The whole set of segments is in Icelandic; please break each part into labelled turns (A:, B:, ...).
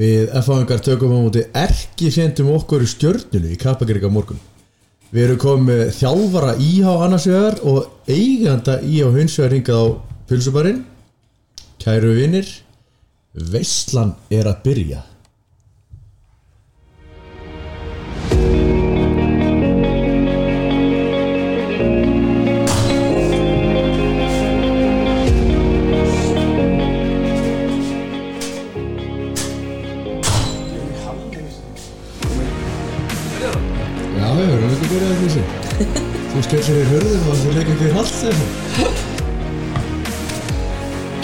A: Við F-fangar tökum á móti erki fjendum okkur í stjörnunu í Kappagreika morgun. Við erum komið með þjálfara íhá annars vegar og eiganda íhá hins vegar hingað á pulsubarinn. Kæru vinnir, veistlan er að byrja. Já, við höfum ekki byrjað þessu. Þú skemmt sér í hörðum og þú leikir ekki í halsið.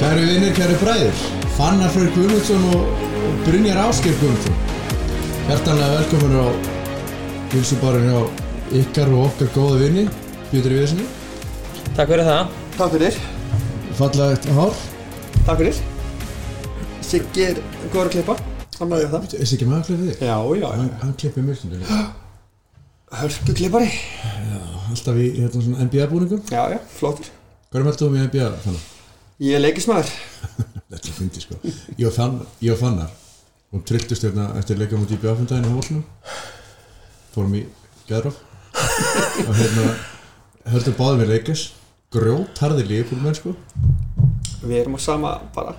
A: Kæru vinnir, kæru bræður, Fannar Freyr Guðmundsson og, og Brynjar Ásker Guðmundsson. Hjartanlega velkomin á pulsubarinn á ykkar og okkar góða vinni, Björn Viðsni.
B: Takk fyrir það
C: Takk fyrir,
A: Fallegt hár,
C: takk fyrir Siggi er góður að klippa Hann maður það
A: er ekki maður að kleipa þig?
C: Já, já,
A: Hann, hann klippir mjög stundum
C: hörku klippari
A: Alltaf í hérna, svona NBA búningum
C: Já, já, flottur
A: Hverjum heldur þú um í NBA? Fannar?
C: Ég er leikismæður
A: Þetta er fyndi sko Ég og Fann- ég og Fannar Hún trilltist hérna eftir leika múti í bjáfundaginn í hólnum Fórum í Gæðróf Og hérna Hörðum báðum við leikis Grjót harði lífbúl menn sko
C: Við erum á sama, bara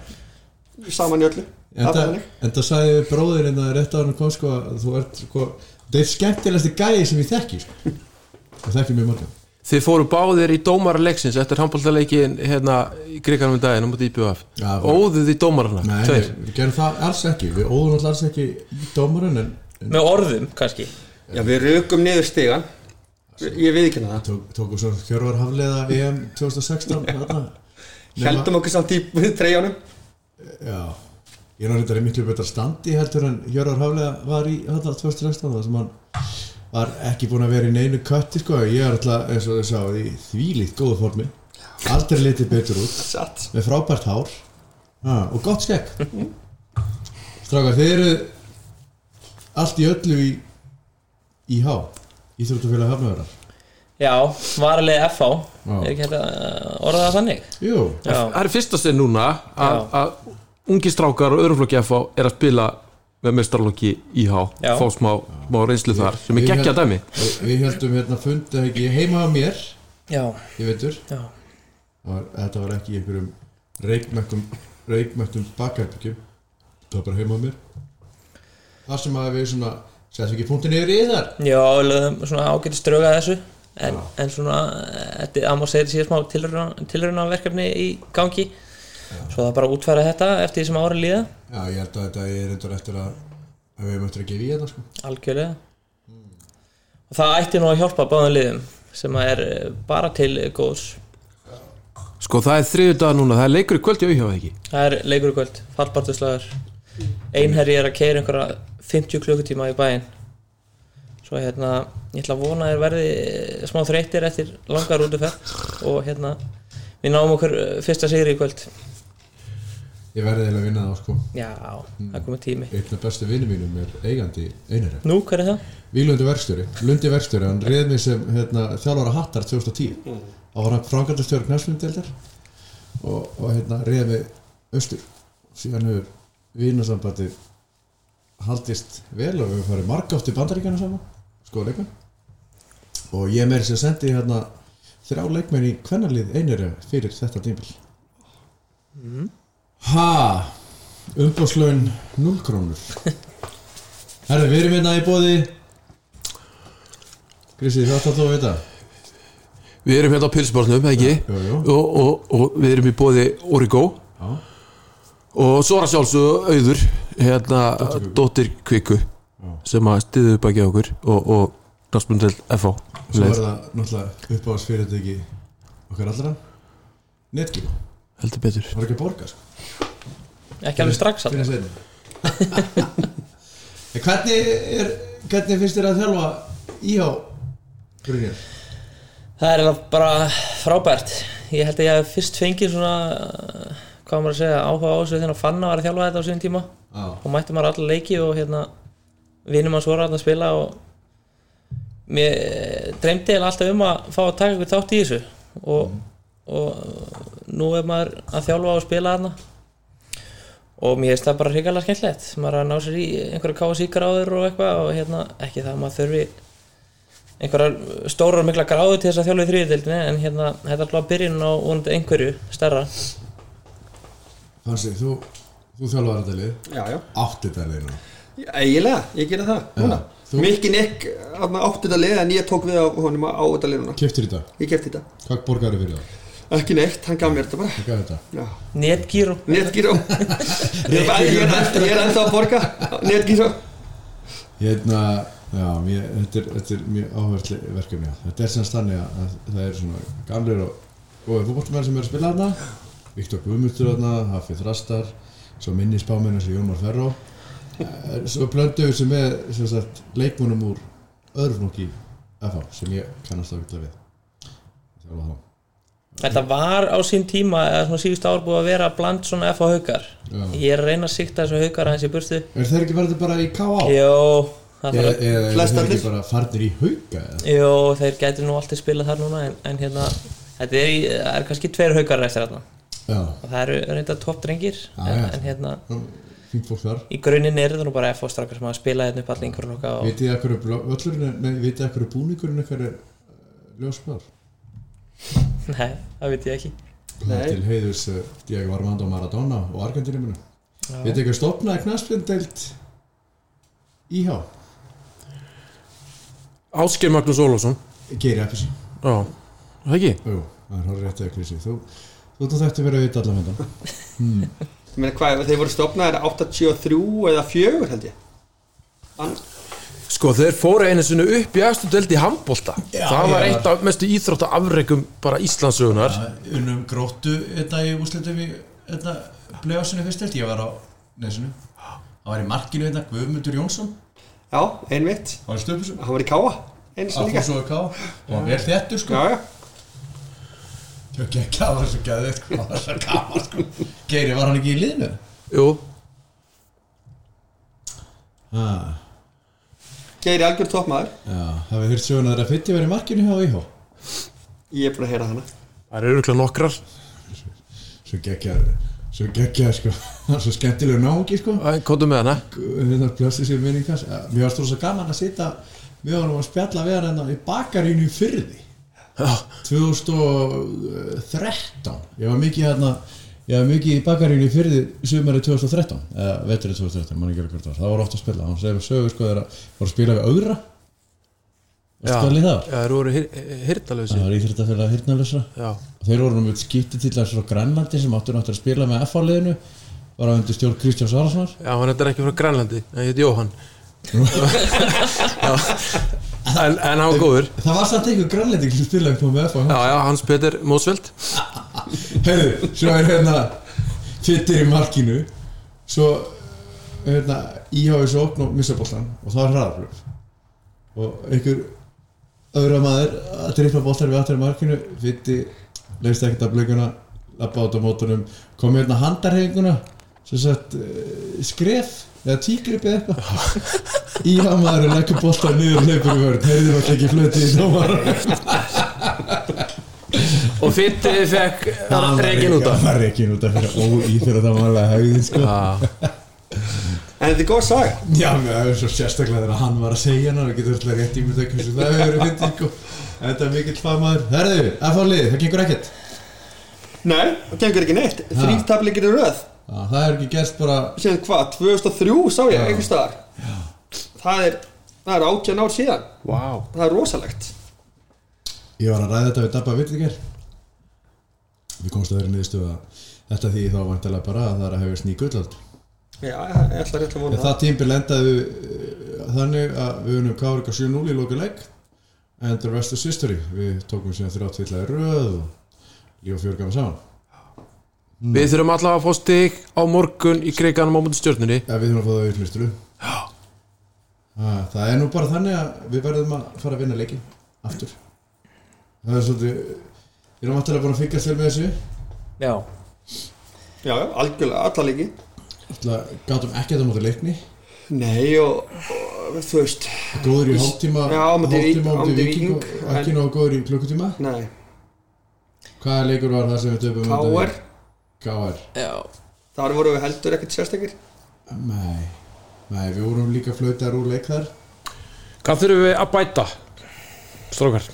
C: Saman í öllu Það er
A: Enda,
C: þannig.
A: enda sagði bróðir hérna rétt á hann kom sko að þú ert sko Það er skemmtilegasti gæði sem ég þekki sko Það þekki mjög marga
D: Þið fóru báðir í dómarleiksins eftir handbóltaleikin hérna í Gríkanum í daginn á mútið IPVF
A: Já, það var-
D: Óðuð í dómarana
A: Nei,
D: Tveir
A: nei, við gerum það alls ekki Við óðum alltaf alls ekki í dómarinn en, en
B: Með orðum kannski
C: Já, við rökum niður stigan Ég viðkynna það
A: tók, tókum svo Hjörvar Hafleiða EM 2016 þarna. Nema-
C: Heldum okkur samt í treyjanum
A: Já Ég er náttúrulega miklu betra standi heldur en Hjörvar Hafleiða var í þarna 2016 þar sem hann var ekki búinn að vera í neinu kötti sko Ég er alltaf, eins og þau sá, í þvílíkt góðu formi Aldrei litið betur út
C: Satt
A: með frábært hár ah, og gott skegg strákar, þið eru allt í öllu í í há Íþróttufélag Hafnavörar
B: Já, varalegi FH
A: Já.
B: Er ekki hægt að uh, orða það þannig
A: Jú,
B: Já,
D: Það er fyrsta stið núna að
B: Já.
D: að ungi strákar og öðruflokki FH er að spila með mestarlokki IH
B: Já.
D: fá smá, smá reynslu þar sem er
A: Ég-
D: geggja dæmi
A: við- við heldum hérna fundi ekki heima á mér,
B: já,
A: ég veitur
B: já
A: var, þetta var ekki í einhverjum reikmættum reikmættum bakherbygjum það var bara heima á mér þar sem að við svona settum ekki punktin yfir í þar
B: Já, við lögðum svona ágæti ströga að þessu En,
A: Já.
B: en svona, eh, þetta, það má segja síðan smá tilraunarverkefni í gangi Svo það bara útfæra þetta eftir því sem ára líða
A: já, ég held að þetta er reyndar eftir að að við möttum ekki við þetta sko
B: Algjörlega
A: Hmm.
B: Og það ætti nú að hjálpa báðum liðum Sem að er eh, bara til eh, góðs
D: Sko það er þriðu dag núna, það er leikur í kvöld í auðhjáð ekki
B: Það er leikur í kvöld, fallbartuslagur Einherji er að keira einhverja 50 klukkutíma í bæinn Svo hérna, ég ætla að vona að þér verði eh, smá þreyttir eftir langar útuferð og hérna, við náum okkur eh, fyrsta sigri í kvöld
A: ég verði eiginlega að vinna það sko
B: Já, það er komið tími
A: einn af bestu vinnum mínum er eigandi einherja.
B: Nú, hver er það?
A: Vílundi verkstjóri, Lundi verkstjóri, hann reið mig sem hérna, þjálfara hattar 2010. Þá var hann frangandastjóri knæsmyndeldar og, og hérna reið mig austur. Síðan hefur vínasambandi haldist vel og við höfum farið margátt í bandaríkjana saman, sko leikmenn. Og ég meiri sem sendi hérna þrjá leikmenn í kvennalið einherja fyrir þetta tímpil. Ha, umbúrslaun 0 krónur Herðu, við erum hérna í bóði Grissi, hvað ætlar þú að vita?
D: Við erum hérna á pilsbórnum, ekki?
A: Jú, jú.
D: Og, og, og við erum í bóði Origo
A: Já,
D: og svo er að sjálfsögðu auður hérna, dóttir Kviku sem að stiðu upp að gefa okkur og, og Narsbundel
A: svo
D: FH
A: er
D: leið.
A: það náttúrulega uppáðs fyrirtæki okkar allra Netgjú, það
D: heldur betur
A: var ekki að borga sko
B: Ekki alveg strax
A: Fyrir
B: alltaf
A: seinna. En hvernig, er, hvernig finnst þér að þjálfa íhá Brynjar?
B: Það er eiginlega bara frábært Ég held að ég hef fyrst fengið svona eh, hvað á maður að segja, áhuga á þessu þegar Fanna var að þjálfa þetta á síðan tíma
A: Já,
B: og mætti maður alla leiki og hérna vinnum hans voru að spila og mér eh, dreymdi eða alltaf um að fá að taka ykkur þátt í þessu og, og nú er maður að þjálfa og spila þarna og mér finnst það bara hrigalega skemmtilegt maður er að ná sér í einhverju kási gráður og eitthvað og hérna ekki það að maður þurfi einhverjar stórar og mikla gráður til þess að þjálfa í þriðutildinni en hérna þetta er alltaf byrjun á vonandi einhverju starra
A: Hansi, þú, þú þjálfaði þetta lið
C: Já, já,
A: átti þetta lið núna
C: eiginlega, ég gera það núna
A: Þú-
C: Mikki Nick átti þetta lið en ég tók við á honum á þetta lið núna
A: Keftir þetta,
C: Ég kefti þetta,
A: hvað borgaru fyrir það?
C: ekki neitt, hann gaf mér þetta bara
A: Hvað er þetta?
C: Já,
B: Netgyro
C: netgíró Ég er bara- ég er ennþá- ég er ennþá að borga Netgíró
A: Hérna, já, mér, þetta, er, þetta er mjög áhverð verkefni já. Þetta er sem stannig að að það eru svona gamlir og góði fótboltamenn sem eru að spila þarna Viktor Guðmundur þarna, Hafi Þrastar svo minni spámenn eins og Jónmar Ferró Eh, svo blöndu sem er sem sagt, leikmunum úr öðrufnóki FH sem ég kannast ákveðlega við Þjálfa þá
B: Þetta var á sín tíma eða svona síðust ár búið að vera bland svona F á haukar
A: Já.
B: Ég er að reyna að sikta þessu haukar aðeins í burtu
A: Er þeir ekki verður bara í K.A.?
B: Jó,
A: Eða
B: það þarf
A: eða eru þeir
C: Flestallir.
A: ekki bara farnir í hauka? eða?
B: Jó, þeir gætu nú alltaf spilað þar núna en, en hérna, þetta er, í- það er kannski tveir haukar eftir þarna
A: Já,
B: og það eru reynda toppdrengir
A: Já,
B: en,
A: já.
B: en hérna,
A: fínt fólk þar
B: í grunninn eru það nú bara F á strákar sem hafa spilað hérna upp allir einhverjum okkar og
A: Vitið þið að hverju bló- völlurinn er, nei, vitið þið að hverju búningurinn ykkar er eh, ljósmaður?
B: nei, það veit ég ekki
C: Nei.
A: Til heiðurs eh, Diego Armando Maradona og Argentinuminu. Vitið þið að stopnaði knaspindelt íhá?
D: Ásker Magnús Ólafsson
A: Geiri Eppisson.
D: Já, það ekki?
A: Jú, það er hálf réttið að Krissi. Þú, þú þú þetta verið að vita allan þetta.
C: Ég meina hvað, þeir voru stopnaðir 83 eða 4 held ég An
D: Sko þeir fóru einu sinni upp í efstu delt í handbólta Það var
A: já.
D: eitt af mestu íþrótta afreikum bara Íslandsugunar
A: Unnum um gróttu þetta í úsletum við þetta blöðasinu fyrst held. Ég var á nesinu. Það var í markinu þetta Guðmundur Jónsson.
C: Já, einmitt,
A: Það var í stöpusum.
C: hann var í káa Eins og líka
A: Alfonso K. Og hann er þettur sko.
C: Já, já,
A: Ég ekki ekki að það var svo gæðið sko, það var svo gaman sko Geiri, var hann ekki í liðinu?
D: Jú,
A: Ah,
C: Geiri algjör toppmaður
A: já, hafið þurft söguna þeirra fytti verið í markinu hjá IH
C: Ég er búin að heyra hana
D: það eru örgulega nokkrar
A: Svo geggjað, svo geggjað sko Það er svo skemmtilegur náungi sko
D: Æ, Komdu með hana
A: Þetta blösti sér minning hans Eh, Mér var stóð svo gaman að sita Við varum að spjalla við hann hérna í bakarínu í fyrði
D: Já,
A: 2013 Ég var mikið hérna Ég var mikið í bakarínu í fyrði sumarið 2013 eða Eh, veturinn 2013, mann ekki alveg hvert var það var ofta að spila, hann segir sögur sko þegar að voru að spila við augra
D: já,
A: Varstu að liða það?
D: já þeir voru hirtalösi
A: Það var íþjóttafélag hirnalösa
D: Já,
A: og þeir voru nú með skipti til þessar á Grænlandi sem áttur náttúrulega að spila með FH-liðinu var á undir stjórn Kristján Svararssonar
D: já, hann er ekki frá Grænlandi En ég heit Jóhann já, en, en hann var góður
A: Það var samt einhver Grænlandi sem spilaði upp á með FH
D: Já, já, Hans Peter Mósveld
A: Heyrðu, svo er hérna fyttir í markinu svo hérna íhá þessu opn og missa boltan og það er hraðaflöf og einhver öðra maður að drifna boltar við aftur í markinu fytti, leist ekkert af blökuna lappa át á mótunum kom hérna handarhefinguna sem sagt eh, skref eða tígrip eða eitthvað íhá maður er leggur boltar niður hleypur í vörn, heyrðu maður ekki flötið í dómar
D: Og fytti fekk reygin út
A: Það var reikin út af fyrir óíþjóðamála haugðin sko
D: af
C: En þetta er góð saga
A: Já, mér það er svo sérstaklega þegar hann var að segja hann og getur alltaf rétt ímynd ekki eins og það hefur verið fyndið sko En Þetta er mikill fagmaður Herðu, FH-lið, það gengur ekkert
C: Nei, það gengur ekki neitt Þrýr tapleikir í röð
A: Já, Það er ekki gerst bara
C: Sér hvað, 2003 sá ég
A: Já.
C: einhvers staðar Það er, það er átján ár síðan
D: Vá
C: Það er rosalegt
A: Ég var að ræða þetta við Dabba Vittinger Við komst að þeirri niðurstöðu að þetta því þá vantilega bara að það er að hefjast ný gullöld
C: Já, ég ætla rétt að
A: En
C: vona það
A: það tímbil endaði eh, þannig að við unum Kárika 7-0 í lokuleik and the rest is history Við tókum síðan þrjá tvillega röð og líf og fjörgama saman
D: Við þurfum allavega að fá stig á morgun í kreikanum á múti stjórnunni
A: Já, við þurfum að fá það auðvitað Já Það er nú bara þannig að við verðum að fara að vinna leikin aftur Það er svolítið Ég erum alltaf búin að fylgjast vel með þessu
B: Já,
C: Já, já, algjörlega, alla leiki
A: Alltaf gátum ekki að það móti leikni
C: Nei, og, og þú veist
A: Góður í hálftíma
C: Já, á móti Vík-
A: hálftíma
C: á
A: á
C: móti
A: móti viking og
C: Víking,
A: ekki
C: en-
A: nóg góður í klukkutíma
C: Nei,
A: Hvaða leikur var það sem við töfum
C: Káar
A: K.R.
B: já
C: þar voru við heldur ekkert sérstakir
A: Nei, nei, við vorum líka flautar úr leik þar
E: Hvað þurfum við að bæta? Strókar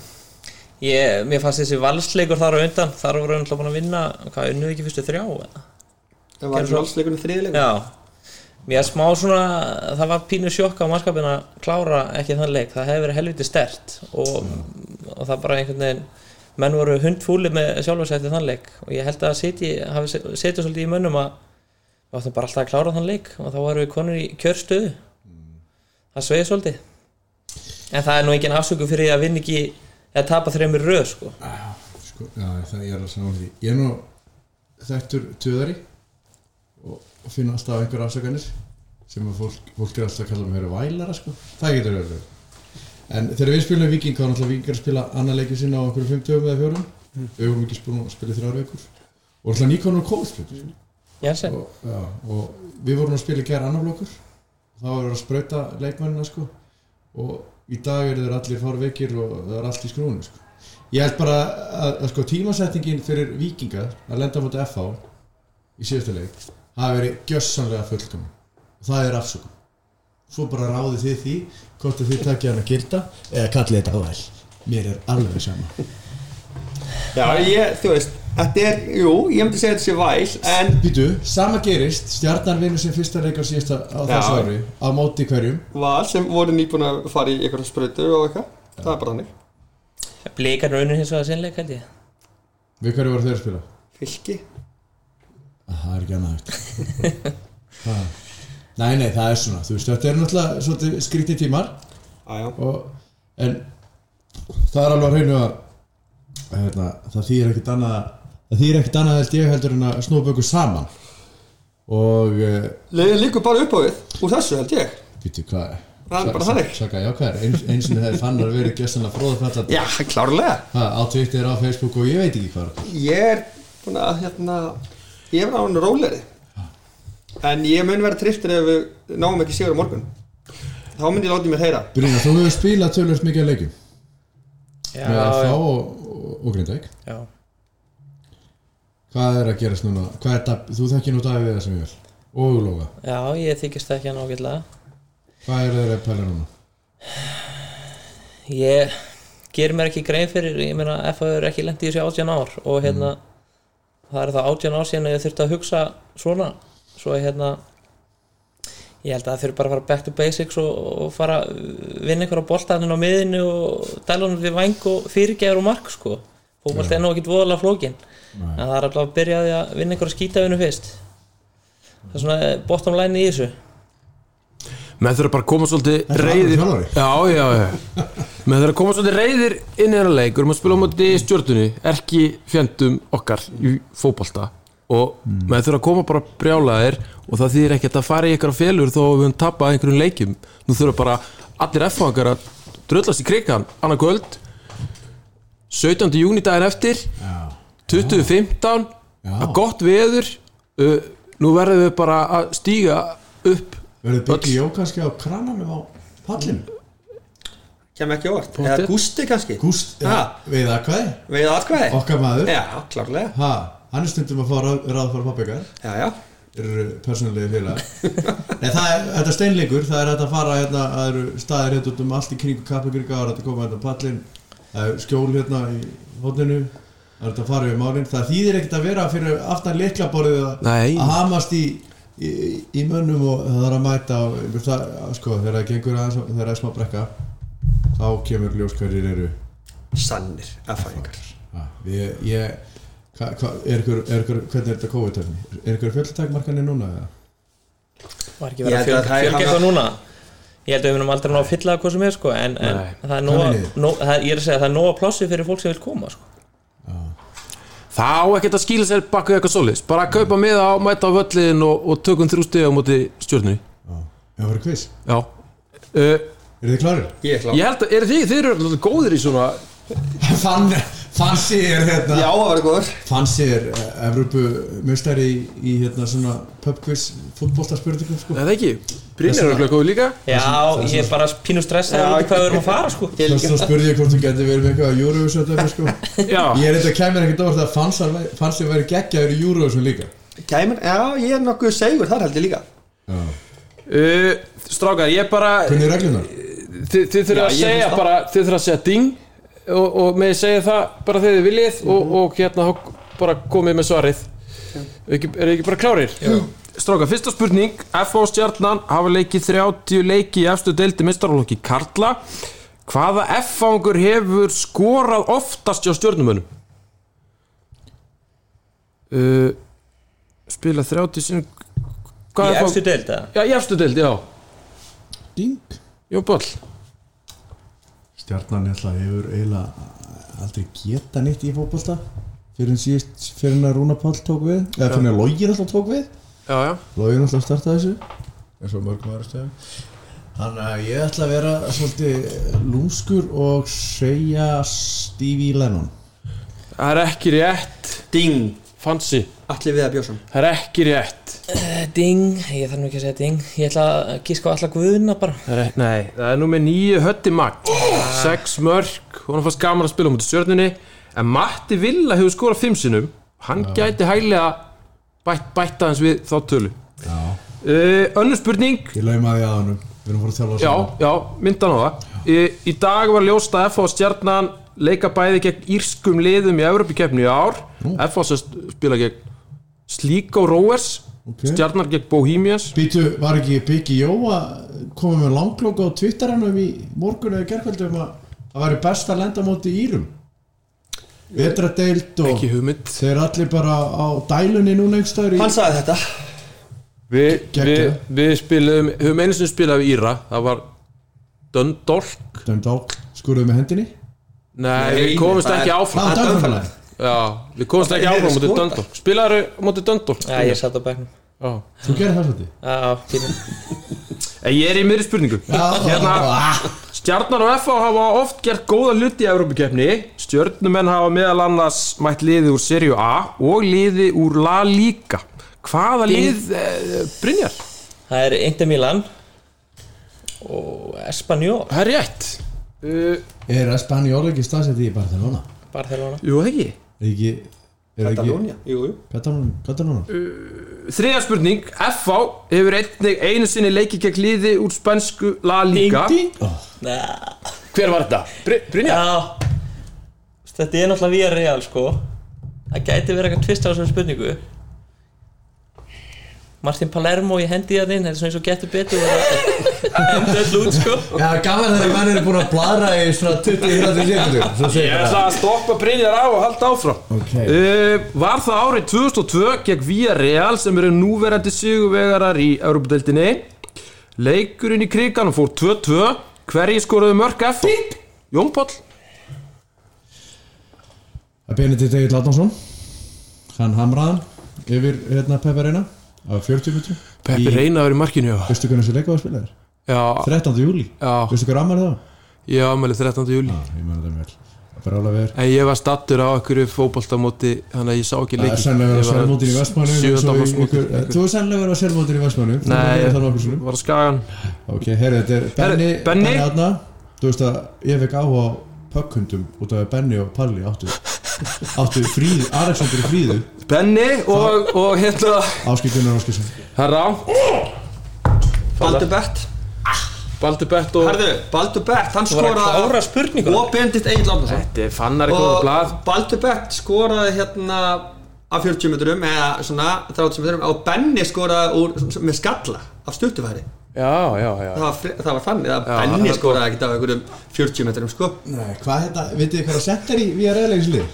B: Ég, mér fannst þessi valsleikur þar á undan þar voru hann búin að vinna hvað, unnum við ekki fyrstu þrjá eða?
C: það var
B: Gerðu-
C: valsleikunum þriðileikum
B: Já Mér smá svona, það var pínu sjokka á mannskapin að klára ekki þann leik það hefði verið helviti stert og, og það bara einhvern veginn menn voru hundfúli með sjálfur sér eftir þann leik og ég held að seti, hafi setið svolítið í mönnum að við áttum bara alltaf að klára þann leik og þá varum við konur í kjörstöðu það sveið svolítið en það er nú engin afsöku fyrir að vinna ekki eða tapa þreymur röð sko
A: sko, Já, það ég er að saman því Ég er nú þektur töðari og, og finna alltaf einhver afsakanir sem að fólk, fólk er alltaf að kalla mér vælara sko, það getur verið En þegar við spilum viking þá er alltaf vikingar að spila annar leikið sinna á einhverjum fimm dögum eða fjórum við vorum ekki spilum að spila í þrjár vekur og alltaf nýkonur kóðspil mm.
B: Jensen,
A: og, já, og við vorum að spila í gær annar blokkur þá erum við að sprauta leikmennina sko. og í dag eru þeir allir farveikir og það er allt í skrúinu sko. ég held bara að, að sko, tímasetningin fyrir vikinga að lenda mot FH í síðasta leik hafi verið gjössanlega fullkom það er afsökum svo bara ráði þið því hvort að þið takja hann að gilda eða kallið þetta ávæl mér er alveg sama
C: Já, ég, þú veist, þetta er, jú, ég myndi segja þetta sé væl en
A: Býtu, sama gerist, stjarnar vinnur sem fyrsta leik á síðasta á
C: Já.
A: þessu ári á móti hverjum
C: val sem voru nýbúin að fara í einhverja sprautur og eitthvað, það er bara þannig
B: blíkar raunin hins vegar sinnleik held ég
A: Við hverju voru þeir að spila?
C: fylki,
A: Að Það er ekki annað hægt Ha. Nei, nei, það er svona Þú veist, þetta er náttúrulega svolítið skrítið tímar
C: aðjá
A: og, En það er alveg að hreinu að að hérna, það þýr ekkert annað það þýr ekkert annað held ég heldur en að snúpa ykkur saman og uh,
C: leiðin líkur bara upp á við úr þessu held ég
A: býtu hvað
C: Það er bara þannig.
A: Saka, já, hvað er, eins, eins og þeir fannar verið gjössanlega fróðfallat
C: já, klárlega
A: á Twitter, á Facebook og ég veit ekki hvað
C: ég er búin að hérna, ég er á hann róleri en ég mun vera tristur ef við náum ekki sigur á morgun þá mun ég láta í mér heyra
A: Brynja, þú hefur spilað tölvöld mikið að leikjum
B: Já,
A: með FH
B: já,
A: og, og, og Grindæk
B: já.
A: Hvað er að gerast núna? Hvað er það, þú þekkir nú Davíð Viðar sem ég vil og Lóga,
B: já, ég þykist ekki hann ágætlega
A: hvað er þeir að pæla núna?
B: Ég ger mér ekki grein fyrir ég meina FH er ekki lent í þessu átján ár og hérna það er það átján ár síðan að ég þurfti að hugsa svona svo að, hérna ég held að það þurfi bara að fara back to basics og, og fara að vinna einhverja boltaðin á miðinu og dæla hann við væng og fyrirgeður og mark sko fókbalt er nú ekkit voðalega flókin en
A: Nei.
B: það er alltaf að byrja á því að vinna einhverja skítavinu fyrst það er svona eh, bottom line í þessu
D: menn þurfa bara að koma svolítið
A: er
D: reyðir
A: alveg
D: já, já, já menn þurfa að koma svolítið reyðir inn í þeirra leik við erum að spila á móti stjórnunni erki fjandum okkar í fótbolta og
A: Mm.
D: menn þurfa að koma bara brjálaðir og það þýðir ekkert að fara í eitthvað félur þó að við höfum tapað einhverjum leikjum nú þurfa bara allir F-fangar að dröllast í krigan annað kvöld 17. júni daginn eftir
A: Já.
D: 2015
A: Já.
D: að gott veður uh, nú verðum við bara að stíga upp
A: Verður byggja jó kannski á krananum á pallinu?
C: kem ekki á óvart,
D: Pottet.
C: eða gústi kannski
A: Gúst,
C: ha,
A: ja, veið aðkvæði,
C: veið atkvæði
A: okkar maður
C: já, klárlega
A: ha, hann er stundum að fá ráð, ráðfara pappikar
C: já, já,
A: eru persónulegi félag Nei, það er, þetta er steinleikur, það er hægt að fara hérna, það eru staðir hérna út um allt í kringu kappakrika, það er hægt að koma hérna á pallin það er skjól hérna í hóttinu það er hægt að fara við málin, það þýðir ekkert að vera fyrir aftan leiklaborðið að
D: Nei,
A: að hamast í, í, í mönnum og það er að mæta á, það, sko, þegar það gengur aðeins þegar það er smá brekka þá kemur ljós hverjir eru
C: sannir erfæðingar
A: Ah, ég, ég hva, hva, er ykkur, er ykkur, hvernig er þetta COVID-tækni er ykkur fjöldtækmarkanir núna eða?
B: var ekki
C: Ég
B: verið að
C: held
B: fjölga,
C: að það er
B: fjölga
C: hann-
B: eitthvað núna ég held að við munum aldrei ná að fylla það hvað sem er sko, en, en
D: Nei.
B: það er
A: Þannig
B: nóga,
A: niður.
B: nó, það, ég er að segja, það er nóga plássi fyrir fólk sem vil koma sko.
D: það á ekkert að skýla sér bak við eitthvað solis Bara að kaupa miða á, mæta á völlin og, og tökum þrjú stiga á móti stjórnunni
A: Ah, það var quiz,
D: Já uh,
A: eru þið klárir?
C: ég er klár
D: Ég held að, er þið, þið eru alveg góðir í svona
A: fann, fann sér hérna
C: já, það var góður
A: fann sér eh, Evrópu mestari í, í hérna svona pub quiz fútboltarspurningum sko.
D: Eða ekki, Brynjar
A: Þess
D: eru
A: vegna-
D: alveg góður líka
B: já, ég er bara pínu stressað
C: Já,
B: út í hvað við erum að fara sko.
C: ég
A: þess
C: líka
A: að spurði ég hvort þú getur verið með eitthvað á Eurovision dæmi, sko.
D: Já,
A: Ég er eitthvað kæmur ekkert á að fanns að fanns að vera geggjaður í Eurovision líka
C: Kæmur, já, ég er nokkuð segur þar held ég líka
D: uh,
E: Strákar, ég bara
A: Hvernig er reglunar?
E: Þið þið þurfið
C: Já,
E: að
C: ég
E: segja
C: hlusta.
E: bara Þið þurfið að segja ding Og, og með segja það bara þegar þið viljið
C: Mhm.
E: og, og hérna þá bara komið með svarið Er ekki, er ekki bara klárir?
D: Stráka, fyrsta spurning FH Stjarnan hafa leikið 30 leiki í efstu deildi mistarálokki Karla Hvaða F-fangur hefur skorað oftast hjá stjörnumönnum? Uh, spila 30 sinni
B: Í
D: Hvað er
B: efstu
D: það?
B: deild, eða?
D: Já, í efstu deild, já
A: Ding
D: Jón Böll
A: Stjarnan ætla, hefur eiginlega aldrei geta nýtt í fótbolta fyrir en síðust, fyrir en að Rúna Pál tók við eða fyrir en að Lógin alltaf tók við
D: Já, já
A: Lógin alltaf startaði þessu eins og mörgum aðra stöðum Þannig að ég ætla að vera svolítið lúmskur og segja Stevie Lennon
E: Það er ekki rétt
C: Ding,
E: Fancy,
C: allir við að bjósum
E: það er ekki rétt
B: Eh, Ding, ég þarf nú ekki að segja ding Ég ætla að gíska á alla guðuna bara
D: Það er- Nei, það er nú með nýju hötti magt Sex mörg, hún fannst gaman að spila mútið stjörnunni En Matti Villa hefur skorað fimm sinnum Hann gæti hæglega bætt, bætt aðeins við þá tölu
A: Já,
D: uh, Önnur spurning
A: ég laumaði að honum Við erum fór að þjálfa
D: Já,
A: saman.
D: já, myndan á það í, í dag var ljóst að FH Stjarnan leika bæði gegn írskum liðum í Evropikefni í ár
A: Nú.
D: FH sem spila gegn Slíkó Róers
A: Ok.
D: Stjarnar gegn Bohemians
A: Býtu, var ekki Biggi Jóa komið með langlokk á Twitteranum í morgun eða gerkvöldum að það væri best að lenda á móti írum Vetradeild og
D: Ekki hugmynd
A: þeir eru allir bara á dælunni núna einhverstaður í
C: Hann sagði þetta
D: Við vi,
A: Geggjað.
D: vi spilum, höfum einu sinni spilað við Íra Það var Dundalk
A: Dæmd á, skurðuð með hendinni
D: Nei, við
C: Nei,
D: komumst
C: það er-
D: ekki áfram
A: Það er dæmfælega
D: Já, við komumst
C: Það
D: ekki
C: er
D: áfram mútið
C: skotað.
D: Dundalk Spilaðu mútið Dundalk
B: Já, ég satt á bæknum
D: Já.
A: Þú gerir það svolítið
B: Já, pínu
D: En Ég er í miðri spurningu Hérna, Stjarnar og FH hafa oft gert góða hluti í Evrópikeppni Stjörnumenn hafa meðal annars mætt liði úr Serie A og liði úr La Liga Hvaða lið eh, Brynjar?
B: Það er Inter Milan og Espanyol
D: Það er rétt uh,
A: Er Espanjól ekki staðsett í Barcelona?
B: Barcelona
D: Jú, það ekki
A: Er ekki, er ekki
C: Katalónia, jú, jú
A: Katalónia Katalónia
D: Þriðja spurning, FH hefur einnig einu sinni leikið gegn liði úr spænsku La Liga
B: Já,
E: Hver var þetta? Bry- Brynjar?
B: Þetta er náttúrulega via real, sko Það gæti verið eitthvað tvist á þessum spurningu Martin Palermo í hendi það inn, þetta er svona eins og getur betur og það enda öll út, sko
A: Já, gaman þegar menn eru búin að bladra í svona 20-30 sekundur Svo segir
E: Ég ætla að stoppa Brynjar á og halda áfram
A: Ok,
D: uh, Var það árið 2002 gegn Villarreal sem eru núverandi sigurvegarar í Europadeildinni Leikurinn í krigan fór 2-2 Hverji skoruðu mörg FH? Jón Páll
A: Benedikt Egil Adnánsson hann hamraðan yfir hérna Peppa Reina á 40 metrum
D: Peppi
A: Í-
D: Reyna verið markinu já
A: veistu hvernig þessi leikaða spilaðir?
D: Já,
A: 13. júli
D: já,
A: veistu hver ammar það?
D: ég ámæli 13. júli
A: Já, ég meina það vel það er bara alveg verið
D: En ég var stattur á einhverju fótboltamóti Þannig að ég sá ekki
A: Það
D: leikin
A: er sennilega verið á selvmótin í Vestmannu
D: Sjöfunda fórsmóti
A: Þú er sennilega verið á selvmótin í Vestmannu
D: Nei,
A: það er nokkuð svona
D: var að skagan
A: Ok, herri, þetta er Benni
D: Herri, Benni.
A: Adna Þú veist að ég fekk áhuga á pökkhundum út af að Benni og Palli áttu áttu fríð, Alexander í fríðu
D: Benni og, og hérna
A: áskiptunar áskipsum
D: Það er rátt
C: Baldur Bett
D: Baldur Bett og
C: Herðu, Baldur Bett, hann
B: Það var að
C: skoraði
B: klára spurningu
C: Og Bendit Egil Árnason
D: Þetta er fannar eitthvað
C: og
D: blað
C: Baldur Bett skoraði hérna af 40 metrum eða svona 30 metrum og Benni skoraði úr, með skalla af stuttufæri
D: Já, já, já
C: það var, fre- það var þannig að
D: Já, það
C: Benni
D: var
C: skoraði ekkert af einhverjum 40 metrum sko
A: Nei, hvað hérna, vitið þið hvað að setja í VRL-leikslið?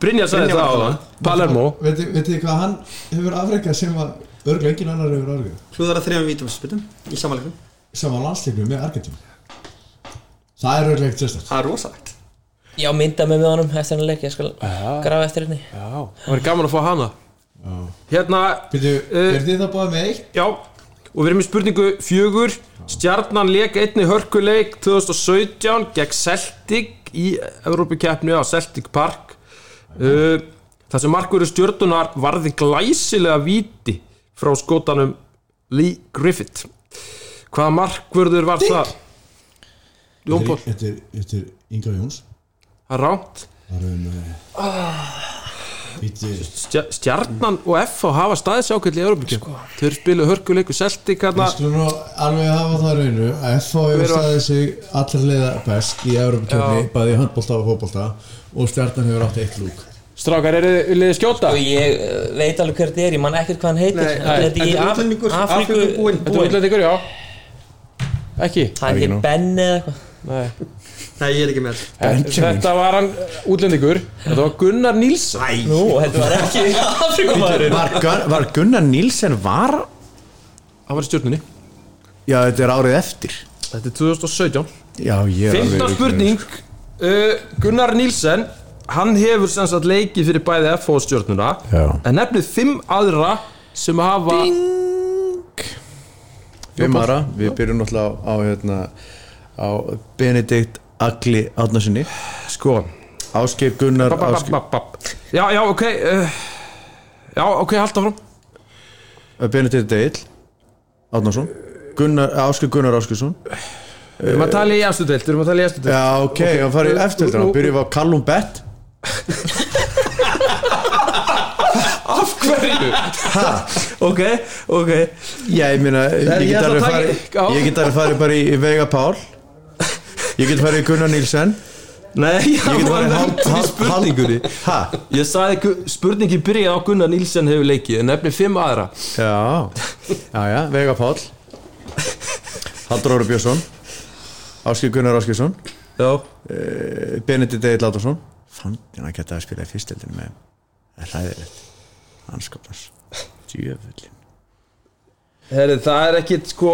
D: Brynjar sagði
C: Brynjar
D: það á
C: var
D: það Palermo
A: Veitir veit þið hvað hann hefur afreikað sem að örgla engin annar hefur afreikað
C: hlúðar að þrejum vítum spytum í samanleikum
A: sem á landsleiknum með Argentín Það er örgla ekkert sérstætt
C: það er rosalegt
B: Já, mynda mig með honum eftir hann leik, ég skal grafa eftir henni
D: Já Það var gaman að fá hana Hérna
A: Býtu,
D: Eh,
A: er þið það báðið með eitt?
D: Já Og við erum í spurningu fjögur Stjarnan leik einni hörkuleik 2017 gegn Celtic í Evrópikeppni á Celtic Park uh, Það sem markverður stjörnunar varði glæsilega víti frá skótanum Lee Griffith Hvaða markverður var það? Jón Pól,
A: Þetta er- þetta er Inga Jóns
D: það er rámt Ah.
A: Það er um, eh, Bíddu.
D: Stja- Stjarnan og F hafa staðið sér ákveðli í Európa sko. Þau eru spiluð hörkuleik og Celtic
A: Við
D: hana
A: skulum nú alveg hafa það á reynu að FH hefur
D: Vera-
A: staðið sig allar leiða best í Európa-kjöfni,
D: Já.
A: bæði í handbólta og fótbólta og stjarnan hefur átt eitt lúk
E: Strákar, eru þið viljið þið skjóta?
B: og ég eh, veit alveg hver þetta er, ég man ekkert hvað hann heitir
C: Nei,
B: Þetta er
C: þetta
B: í
C: er
B: Af-
C: útlendingur,
B: Afríku
C: Afríkubúinn.
E: Þetta er útlendingur, já Ekki?
B: hann
A: Ekki
B: heitir
A: nú.
B: Ben eða eitthvað
E: Nei
C: Nei, ég er ekki með
A: Benjamin.
E: Þetta var hann útlendingur Þetta var Gunnar Nílsson
B: Nú, þetta var ekki Afríkumæðurinn
F: Var, Gun- var Gunnar Nílsen var
D: Það var í stjórnunni
F: Já, þetta er árið eftir
D: Þetta er 2017
F: Já, ég er
D: Fymta
F: alveg-
D: spurning uh, Gunnar Nílsen Hann hefur sem sagt leikið fyrir bæði F og stjórnuna
F: Já.
D: En nefnið fimm aðra sem hafa
F: Fimm ára, við byrjum náttúrulega á, á, hérna, á Benedikt Agli Átnarsinni
D: Sko
F: Ásgeir Gunnar
D: bap, bap,
F: Ásgeir,
D: bap, bap. Já, já, ok uh, Já, ok, halda fram
F: Benedikt Egil Átnarsson Gunnar, Ásgeir Gunnar Áskeirsson
D: Við erum að tala í efstu deild Við erum að tala í efstu deild
F: Já, ok, hann farið eftir þetta Byrjum við á Callum Bett
D: Af hverju? ok, ok
F: Já, ég meina, ég
D: ég
F: get
D: ætla að
F: alveg
D: taka-
F: farið
D: Já.
F: Ég get alveg farið bara í, í Vega Pál Ég get farið í Gunnar Nílsen
D: Nei,
F: Ég
D: ég
F: get
D: var
F: farið
D: nefndur í spurningunni
F: Hæ?
D: Ég sagði gu- spurningin byrjaði á Gunnar Nílsen hefur leikið en nefnið fimm aðra
F: Já, já, já, Vega Pál Haldur Óri Björnsson Ásgeir Gunnar Áskeirsson
D: Já,
F: Benedikt Egil Latarsson Fandinn að geta að spila í fyrstildin með þeim. Það er hræðilegt Anskapnars Djöfullin
D: herri, það er ekkit sko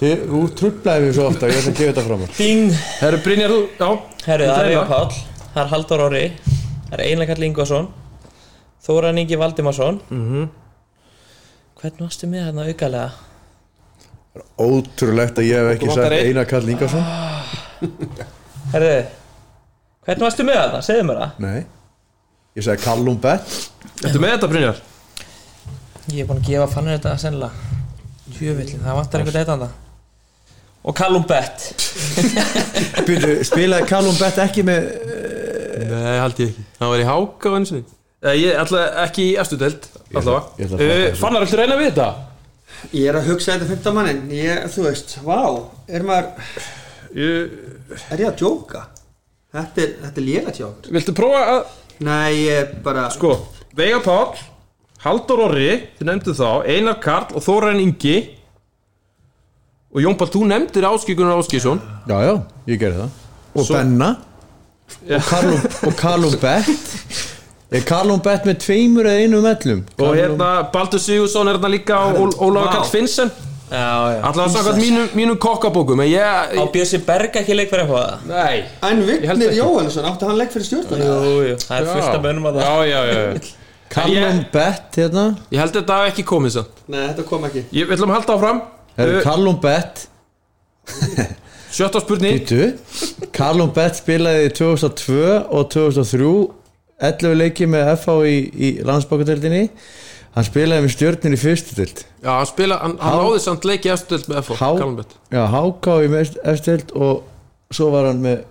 F: Þið, þú trublaði mér svo ofta Ég ætla að gefa þetta fram úr
B: Ding
D: Herri, Brynjar, þú, já
B: Herru,
D: Þetta
B: það er
D: er
B: Eva
D: það.
B: Páll, það er Halldór Orri Það er Einar Karl Ingvarsson Þóran Ingi Valdimarsson mm Hvernig varstu með þarna aukalega?
F: Ótrúlegt að ég hef ekki
E: Þú vantar
F: sagt
E: einn.
F: Einar Karl Ingarsson
B: Herru, hvernig varstu með þarna? Segðu mér það
F: Nei Ég sagði Callum Bett
D: Ertu með þetta, Brynjar?
B: Ég er búinn að gefa fannir þetta sennilega Jöfellin, það vantar einhvern eitthvað annað Og Callum Bett
F: Byrju, spilaði Callum Bett ekki með eh,
D: Nei, haldið ekki Það var í háka á henni sinni Nei, ég ætla ekki í efstu deild
F: Ég ætla
D: Allavega
F: að fatta
D: Eh,
F: þessu.
D: Fannar, ættu reyna við þetta?
C: þetta Ég er að hugsa þetta 15 mannin ég, Þú veist, vá, er maður
D: Ég-
C: Er ég að djóka? Þetta er, þetta er lélega hjá okkur
D: Viltu prófa að
C: Nei, ég er bara
D: Sko, Veigar Páll Haldur Orri, þið nefndu þá Einar Karl og Þóran Ingi Og Jón Pál, þú nefndir Áskíkunar Áskísson
F: Já, já, ég gerði það Og Benna og Callum, og Callum Bett Er Callum Bett með tveimur eða einum ellum?
D: Og hérna, Baldur Sigursson er hérna líka Og Ólafa
C: Vá.
D: Karl Finnsen
B: Já, já
D: Alltaf samkvæmt mínum, mínum kokkabókum En ég,
B: Á Bjössi Berg ekki leik fyrir eitthvað?
D: nei
C: En
D: held
C: Vignir
D: ekki.
C: Jóhannesson, átti hann legg fyrir stjórnum?
B: Jú, jú, það er fullt af mönnum að það
E: Já, já, já
F: Callum
D: Ég-
F: Bett hérna
D: Ég held þetta hafi ekki komið sann
C: Nei, þetta kom ekki
D: Ég vil um að halda áfram
F: Er
D: Eh,
F: Callum Bett
D: Sjötta spurning
F: Býtu Callum Bett spilaði í 2002 og 2003 11 leiki með FH í, í landsbókadeildinni Hann spilaði með stjörnir í fyrstu dild
D: Já, hann spila, hann, hann
F: Há-
D: náði samt leik í eftirdeild með FH,
F: Há-
D: Kalmbett
F: Já, HK í efstu dild og svo var hann með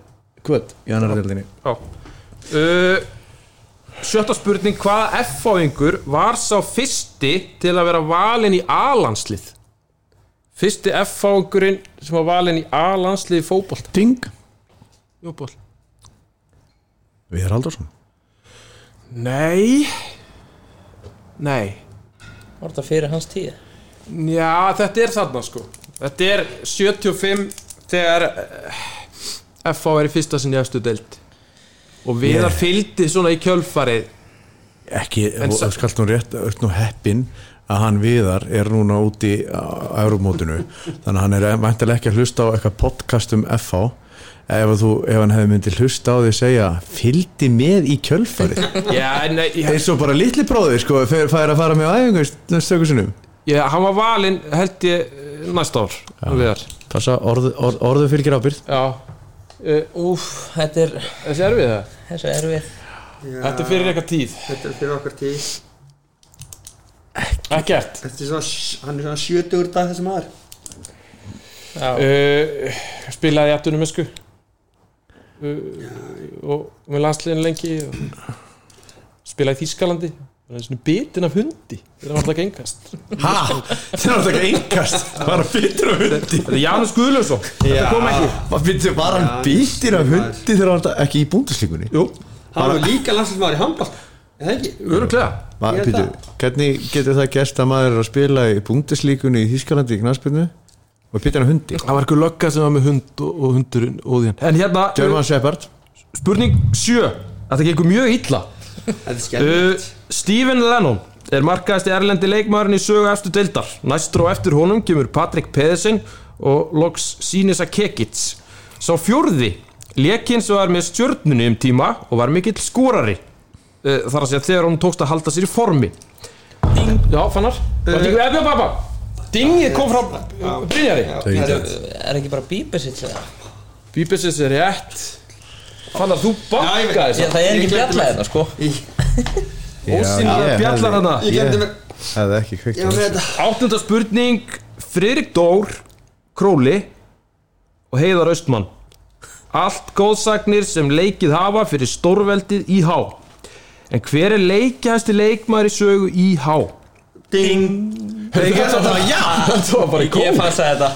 F: kvöld í annar deildinni
D: Já uh, Sjötta spurning, hvaða FH-ingur var sá fyrsti til að vera valinn í A-landslið? Fyrsti FH-ingurinn sem var valinn í A-landslið í fótbolta
F: Ding
D: Jóból
F: Viðar Haldursson
D: Nei Nei
B: Var þetta fyrir hans tíð?
D: Já, þetta er þarna sko Þetta er 75 þegar eh, FH er í fyrsta sinni efstu deild og viðar yeah. fylgdi svona í kjölfarið
F: Ekki,
D: En
F: og
D: sa-
F: skallt nú rétt öll nú heppin að hann Viðar er núna úti á Európmótinu þannig að hann er væntalega ekki að hlusta á eitthvað podcast um FH ef, að þú, ef hann hefði myndið hlusta á því að segja fylgdi með í kjölfarið
D: Já, nei, ég,
F: eins og bara litli bróðir sko fer, fær að fara með á æfingu stöku sinnum
D: ég, hann var valinn held ég eh, næsta ár ja. viðar
F: Passa, orð, orð, orðu fylgir ábyrð
E: Já Eh,
B: Úf, þetta er,
E: Þessi er við það
B: þessu erfið
C: Já,
E: Þetta er fyrir eitthvað tíð
C: Þetta er fyrir okkar tíð
E: Ekkert
C: Þetta er svona, hann er svona 70 úr dag þessi maður
B: Já,
E: uh,
D: Eh,
E: Spilaði jættunum esku uh, Og með landsliðin lengi og...
D: spila í Þískalandi Það er svona bitin af hundi Það er alltaf gengast
F: Hæ? Þeir eru alltaf engast Bara bitur af hundi
D: Þetta er Janus Guðljósson
C: Já.
D: Þetta kom ekki
F: Var, bitur, var hann bitur af hundi þegar hann var ekki í búndaslíkunni?
D: Jú,
C: hann var líka landsinsmaður í handbalt eða ekki
D: öruglega
C: Ég held
F: Bitur, hvernig getur það gert að maður er að spila í búndaslíkunni í Þískalandi í knarspilnu og bitur af hundi?
G: Það var eitthvað lögga sem var með hund og, og hundurinn og því hann En hérna,
F: German Shepard
D: eh, Spurning 7 Þetta gengur mjög illa
C: þetta er
D: uh,
C: skemmt
D: Stephen Lennon er markaðasti erlendi leikmaðurinn í sögu eftir deildar Næstur og eftir honum kemur Patrik Pedersen og loks Sínisa Kekic Sá fjórði Lekins var með stjörnunni um tíma og var mikill skórari uh, Þar að segja þegar hún tókst að halda sér í formi Ding Já, fannar
C: Uh,
D: Var þetta ekki efja pappa? Dingið kom frá uh, Brynjari
C: já,
B: er ekki bara bíbið sitt eða?
D: Bíbessis er rétt Fannar, þú
C: Já, ég veit.
D: bakkaði
B: Já, það er ekki bjalla hérna sko
D: Ósýnilega bjallar hana
C: ég glemdi mér
F: Það er ekki kveikt
C: ég var með þetta
D: Áttunda spurning Friðrik Dór, Króli og Heiðar Austmann Allt góðsagnir sem leikið hafa fyrir stórveldið IH En hver er leikjæðasti leikmaður í sögu IH?
C: ding
D: Það var bara í
B: Ég
D: góð
B: fannst að þetta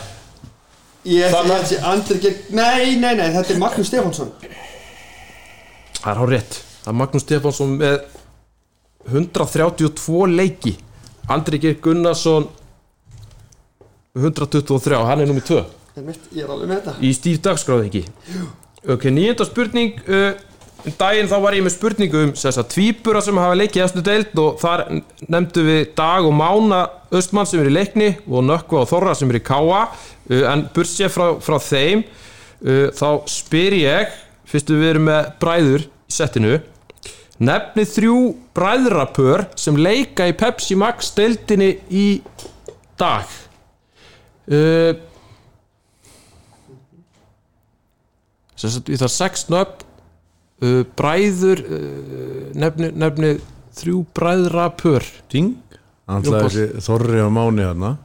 C: ég held að sé Andri Geir nei, nei, nei þetta er Magnús Stefánsson
D: Það er hár rétt Það er Magnús Stefánsson með 132 leiki Andri Geir Gunnarsson 123, hann er nummið 2
C: Einmitt, ég er alveg með þetta
D: í stíf dagskráð ekki ok, nýjönda spurning uh, um daginn þá var ég með spurningu um þess að tvíbura sem hafa leikið í eftir deild og þar nefndu við Dag og Mána Östmann sem er í leikni og Nökkva og Þorra sem er í Káa uh, en bursið frá, frá þeim uh, þá spyr ég fyrstu við erum með bræður í settinu nefni þrjú bræðrapör sem leika í Pepsi Max deildinni í dag uh, sem sagt við þarf sex nöfn uh, bræður uh, nefni, nefni þrjú bræðra pör
F: Ding Þannig að þessi Þorri og Máni hérna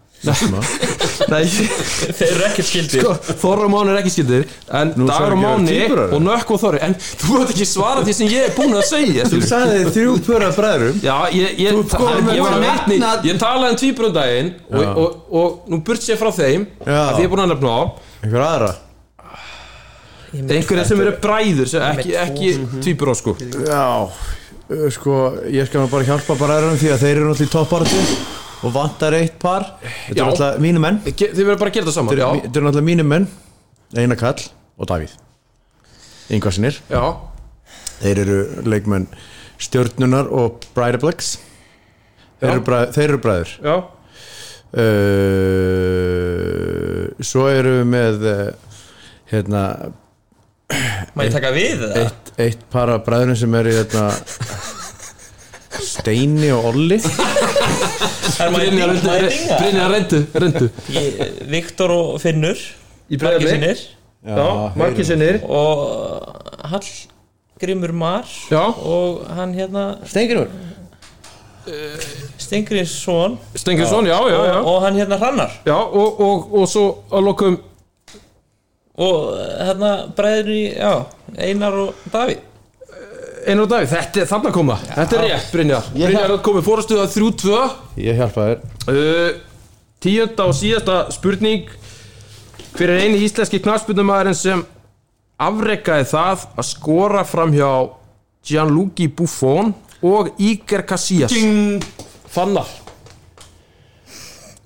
D: Nei,
B: Þeir eru ekkert skildir
D: Sko, Þorra og Máni er ekki skildir en
F: Nú,
D: Dagur og
F: sagði ekki að
D: Máni
F: tvíburar,
D: og Nökk og Þorri en þú veit ekki svara því sem ég er búin að segja
F: Þú
D: skilur.
F: sagði þrjú pöra bræðrum
D: Já, ég, ég,
F: Þú
D: það,
F: komið
D: ég var
F: bara
D: meitni Ég talaði um tvíbrundaginn og, og, og, og nú burt sér frá þeim
F: Já.
D: að því ég er búin að nefna á
F: Einhver aðra
D: einhverja sem eru bræður sem ekki,
B: Með
D: ekki tvíbró sko
F: Já, uh, sko, ég skal nú bara hjálpa bræðurum því að þeir eru náttúrulega í topparatu og vantar eitt par Þetta
D: Já.
F: er náttúrulega mínu menn
D: Ge- Þið verður bara að gera það saman
F: Þetta
D: Já,
F: eru- þetta eru náttúrulega mínu menn Einar Kall og Davíð Ingvarsinir
D: já,
F: Þeir eru leikmenn Stjörnunar og Bræðablex Þeir,
D: Já.
F: eru bræð- þeir eru bræður
D: já
F: uh, Svo eru við með uh, hérna,
B: Má ég taka við það?
F: eitt, eitt par af bræðurum sem eru hérna, Steini og Olli
B: Það er maður
D: Brynjar
B: ding- má ég dinga
D: reyndu, reyndu, reyndu
B: Ég- Viktor og Finnur
D: Í
B: Margir
D: Breiðabliki.
B: sinir
D: Já, margir sinnir
B: Og Hallgrimur Mar
D: Já.
B: Og hann hérna
F: Steingrymur
B: Stengriðsson
D: Stenginsson, já, já, já
B: Og hann hérna Hrannar
D: Já, og, og, og svo að lokum
B: Og hérna bræður í, já, Einar og Davíð
D: Einar og Davíð, þetta er þarna koma Þetta er rétt, Brynjar Brynjar er komið fórastuð að 3-2
F: Ég hjálpa þér
D: uh, Tíunda og síðasta spurning Hver er eini íslenski knafspunumæðurinn sem afrekaði það að skora fram hjá Gianluigi Buffon og Iker Casillas Fannar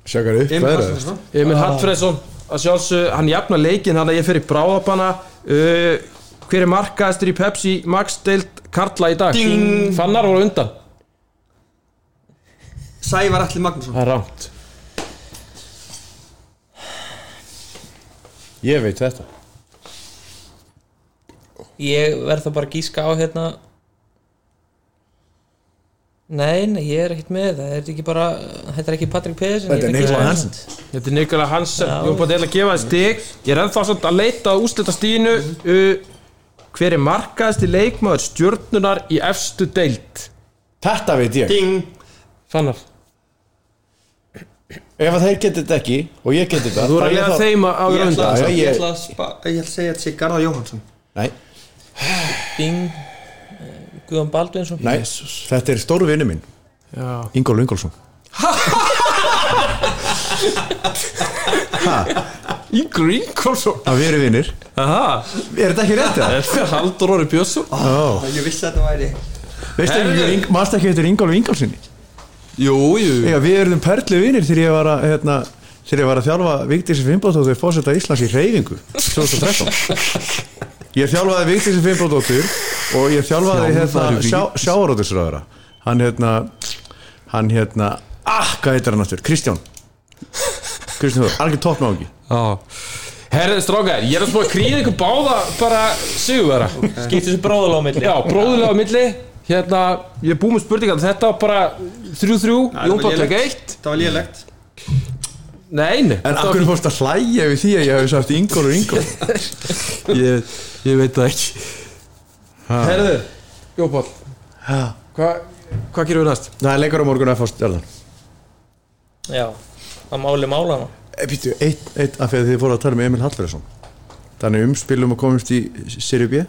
F: Sjökar upp, hvað er það?
D: Emil Hallfreðsson að sjálfsög, hann jafna leikin hann að ég fer í bráðabana uh, hver er markaðastur í Pepsi Max deild Karla í dag Ding. Fannar voru undan
C: Sævar Alli Magnússon
D: það er rámt
F: Ég veit þetta
B: Ég verð þá bara að gíska á hérna Nei, nei, ég er ekkert með það Þetta er ekki bara, þetta er ekki hérna. Patrik Pedersen
F: Þetta er
B: ég
F: Nikola
B: gíska á
F: Hansen.
B: þetta.
D: þetta er Nikola Hansen, ég var bara til að gefa það stig ég er ennþá samt að leita að úslita stínu uh, hver er markaðasti leikmaður stjórnunar í efstu deild
F: Þetta veit ég
C: ding
D: Fannar,
F: Ef að þeir getur þetta ekki og ég getur þetta
D: þú er
F: þá
D: að
F: ég
D: lega
F: þá-
D: þeim að
C: ég
D: ára
C: ætla
D: undan
F: Já,
C: að
F: já,
C: ég
F: ég-
C: ætla að spa- ég ætla að segja að þetta sé Garðar Jóhansson
F: Nei,
B: Ding Guðan eh, Baldvinsson
F: Nei, þetta er stóru vinnu minn
E: Já.
F: Ingól Ingólfsson
E: Ingur Ingolson
F: að við erum vinnir
E: Aha,
F: Er þetta ekki rétt það?
E: þetta er Haldur Orri Björnsson
F: Oh.
C: Ég vissi að þetta væri
F: Veistu ekki, Ing- manstu ekki eftir Ingólf Ingólfssoni?
E: Jú, jú
F: Ega, við erum perlu vinnir þegar ég var að hérna, þegar ég var að þjálfa Vigdísi Fimboðdóttur fórseta Íslands í hreyfingu 2013 Ég þjálfaði Vigdísi Fimboðdóttur og ég þjálfaði hérna,
E: Þjálfaði
F: sjá, sjáarótisraðara hann hérna hann hérna, ah, hvað heitir hann aftur? Kristján Kristján Þór, algjör toppnáðungi
E: Herðið strákar, ég er að spá að kríða ykkur báða bara sigurvera
B: Skiptir þessu bróðulega á milli
E: Já, bróðulega á milli Hérna, ég er búið með spurningar Þetta var bara 3-3,
C: það
E: Jón
C: var
E: Báttek
C: lélegt.
E: 1
C: Það var lélegt
E: Nei, nei
F: En
E: þetta
F: akkur
E: var-
F: fórst að hlæja við því að ég hafi sagt Ingól og Ingól
E: ég, ég veit það ekki Herðu, Jón Bátt Hvað hva gerum við næst?
F: Það er leikur á morgun að fórst
B: Já, að máli mála hana
F: Býttu, Eh, eitt, eitt af því að þið fóru að tala með Emil Hallverðarsson Þannig umspilum að komumst í Sirju B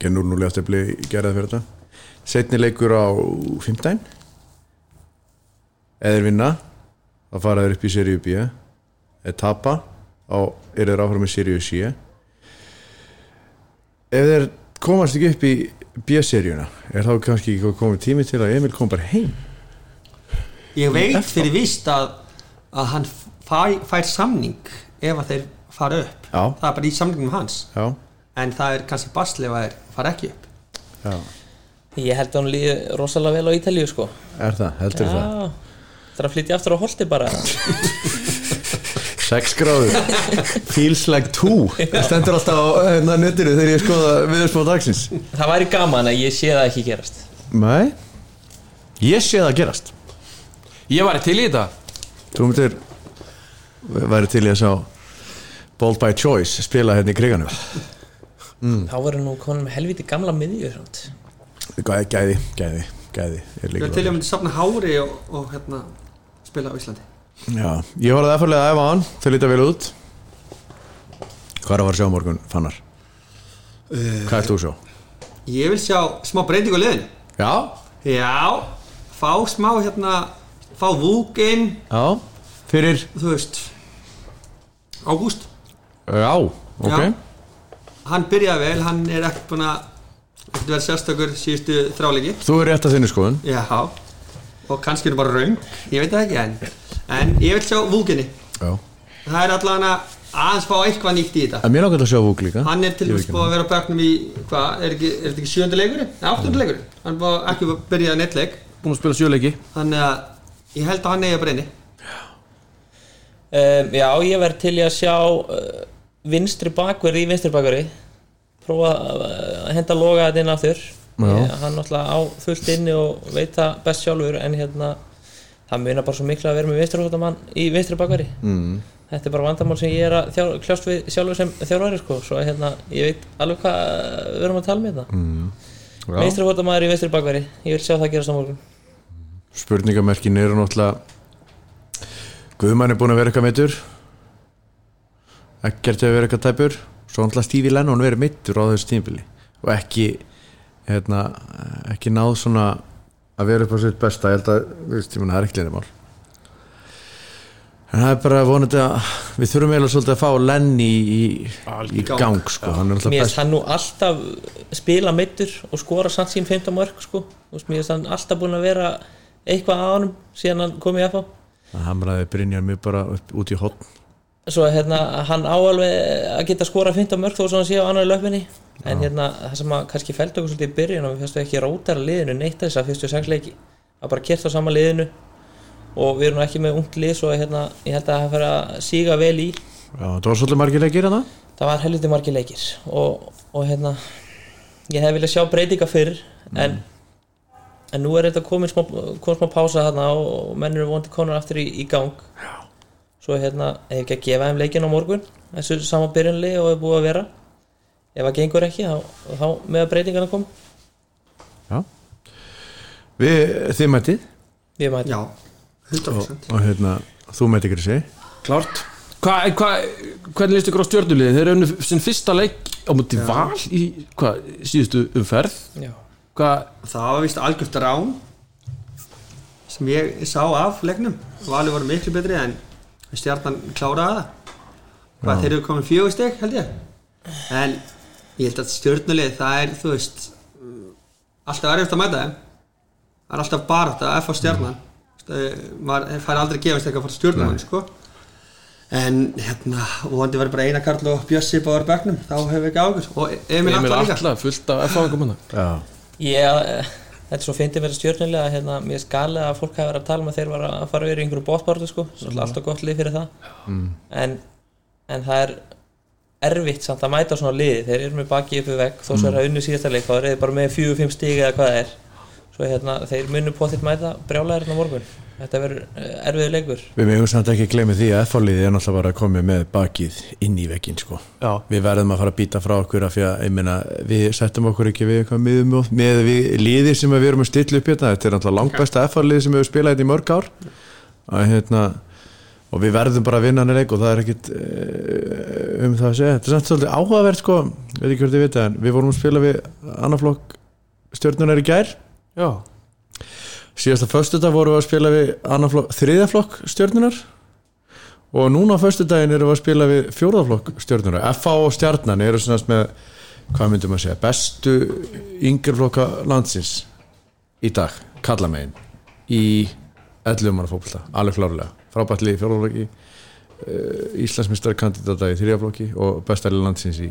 F: Genn 0-0 eftir að bli gerðað fyrir þetta Setni leikur á 15 Eða þeir vinna þá fara þeir upp í Sirju B Eða tapa þá eru þeir áfram í Sirju C Ef þeir komast ekki upp í B-seríuna er þá kannski ekki komið tími til að Emil kom bara heim
C: Ég veit fyrir víst að, að hann fæ, fær samning ef að þeir fara upp
F: Já.
C: Það er bara í samningum hans
F: Já,
C: En það er kannski basli ef að þeir fara ekki upp
F: já,
B: Ég held að hún líði rosalega vel á Ítalíu sko
F: er það, heldur það
B: Já, það er að flytja aftur á holti bara
F: 6 gráður feels like 2 það stendur alltaf á hérna, netinu þegar ég skoða viðurspá dagsins
B: Það væri gaman að ég sé það ekki gerast
F: nei ég sé það gerast
E: Ég var til í þetta
F: þú myndir væri til í að sjá Bold by Choice spila hérna í kriganum
B: Þá verður nú konum með helviti gamla miðjur samt.
F: gæði, gæði, gæði, gæði
C: Ég
F: er
C: var til að
F: lykilorðið.
C: myndi safna hári og, og hérna, spila á Íslandi
F: Já, ég var að aðferðlega að æfa hann þau líta vel út hvað er að fara að sjá á morgun fannar hvað ert þú að sjá
C: Ég vil sjá smá breyting á liðinu
F: já,
C: Já, fá smá hérna Fá vúkin,
F: já, fyrir
C: þú veist Ágúst
F: já, ok
C: Já. Hann byrjaði vel, hann er ekki búin að Þetta verið sérstakur síðustu þráleiki
F: þú er rétt að þinni skoðun
C: Já Og kannski er hann bara raung, ég veit það ekki en En ég vil sjá vúkinni
F: já
C: Það er allan að aðeins fá eitthvað nýtt í þetta
F: En mér ákveðt að sjá Vúk líka
C: Hann er til
F: Ég
C: dæmis
F: veit
C: búið að vera á bæknum í Hvað, er, ekki, er þetta ekki sjönda leikur? Nei, áttunda leikur Hann er búið að ekki byrjaði neitt leik
E: Búin að spila sjöleiki
C: Þannig að ég held að hann eigi að breyni
B: um, Já, ég verð til í að sjá uh, vinstri bakverði í vinstri bakverði Prófa að uh, henda loga þetta inn aftur ég, Hann náttúrulega á fullt inni og veit það best sjálfur En hérna, það munar bara svo miklu að vera með vinstri hóttamann í vinstri bakverði mm. Þetta er bara vandamál sem ég er að þjá, kljást við sjálfur sem þjálfari sko. Svo að, hérna, ég veit alveg hvað við erum að tala með það mm. Vinstri hóttamæður í vinstri bakverði Ég vil sjá það gerast á morgun
F: Spurningamerkin eru náttúrulega Guðmann er búin að vera eitthvað meittur Ekkert hefur verið eitthvað tæpur Svo náttúrulega Stífi Lennon verið meittur á þessu tímabili Og ekki hérna, ekki náð svona að vera upp á sitt besta Ég held að þú veist, ég meina, það er ekki leina mál En það er bara vonandi að við þurfum eiginlega svolítið að fá Lenny í, í
C: gang.
F: gang sko. Hann
B: Mér
F: er náttúrulega
B: finnst
F: best
B: hann nú alltaf spila meittur og skora samt sín 15 mörg sko. Þú veist, Mér finnst hann alltaf búin að vera eitthvað að honum síðan hann kom í FH
F: Hann hamraði Brynjar mig bara upp, út í hotn
B: Svo að, hérna, hann á alveg að geta skora 15 mörg þó sem hann sé á annar löpminni En hérna, það sem að kannski fældi okkur svolítið í byrjun og við fyrstu ekki rótara liðinu neitt þess að fyrstu sangleiki að bara kert á sama liðinu og við erum nú ekki með ungt lið svo að, hérna, ég held að það fyrir að síga vel í
F: Já, það var svolítið margir leikir hérna. hann
B: það var helviti margir leikir og, og hérna ég hef viljað sjá breytinga fyrr en, en nú er þetta komin smá, komin smá pása þarna og, og menn eru vonandi konar aftur í, í gang Já. svo hérna ef ekki að gefa þeim leikin á morgun þessu sama byrjunli og er búið að vera ef það gengur ekki þá, þá með að breytingarna kom
F: Já Við, þið mætið
B: við mætum
C: Já, 100%
F: og hérna, þú mætið ekki að segja
E: Klárt hva, hva, Hvernig líst ykkur á stjörnuliðin? Þeir eru unnu sinn fyrsta leik á múti val í hva, síðustu umferð
B: Já.
D: hvað,
C: Það var vist algjört rán sem ég sá af leiknum Valur voru miklu betri en stjarnan kláraði það hvað þeir eru komin fjögur steg held ég en ég held að stjörnulið það er þú veist mm, alltaf erfitt að mæta þeim það er alltaf bara þetta F á stjarnan mm. maður fær aldrei að gefast eitthvað fyrir stjörnumann sko en hérna vonandi verður bara Einar Karl og Bjössi báður begnum þá hefur við ekki águr og Emil
D: Emil
C: Atla líka
D: Atla fullt af erfaringum hann
F: Já,
B: Ég, eh, þetta er svo fyndið verið stjórnilega að hérna, mér skalið að fólk hafi verið að tala um að þeir var að fara yfir í einhverju bótbártu sko, svo mm. alltaf gott lið fyrir það en, en það er erfitt samt að mæta svona liði þeir eru með bakið uppi vegg, þó svo er það unnu síðasta leik þá eru þeir bara með 4-5 stíg eða hvað það er svo hérna, þeir munu potið mæta brjálæðir hérna á morgun, þetta verður eh, erfiður leikur
F: við megum samt ekki glemja því að F-liðið er náttúrulega bara komið með bakið inn í vekkin sko.
D: Já.
F: Við verðum að fara að býta frá okkur af því að, ég meina, við settum okkur ekki við eitthvað miðum og með við liðið sem við erum að stilla upp hérna, þetta er náttúrulega langbæsta F-liðið sem við hefur spilað hérna í mörg ár að hérna og við verðum bara að vinna hann leik og það er ekkit eh, um það að segja þetta er samt svolítið áhugavert sko, veit ekki hvort ég vita en við vorum að spila við annaflokk stjórnunar í gær
D: já,
F: síðasta föstudag vorum við að spila við annan flokk, þriðja flokk stjörnunar og núna á föstudaginn erum við að spila við fjórða flokk stjörnunar FA og stjarnan eru svona með hvað myndum að segja, bestu yngri flokka landsins í dag, kallamegin í 11 manna fókbalta, alveg klárlega frábært lið í fjórða flokki Íslandsmyndstari kandidata í þriðja flokki og bestari landsins í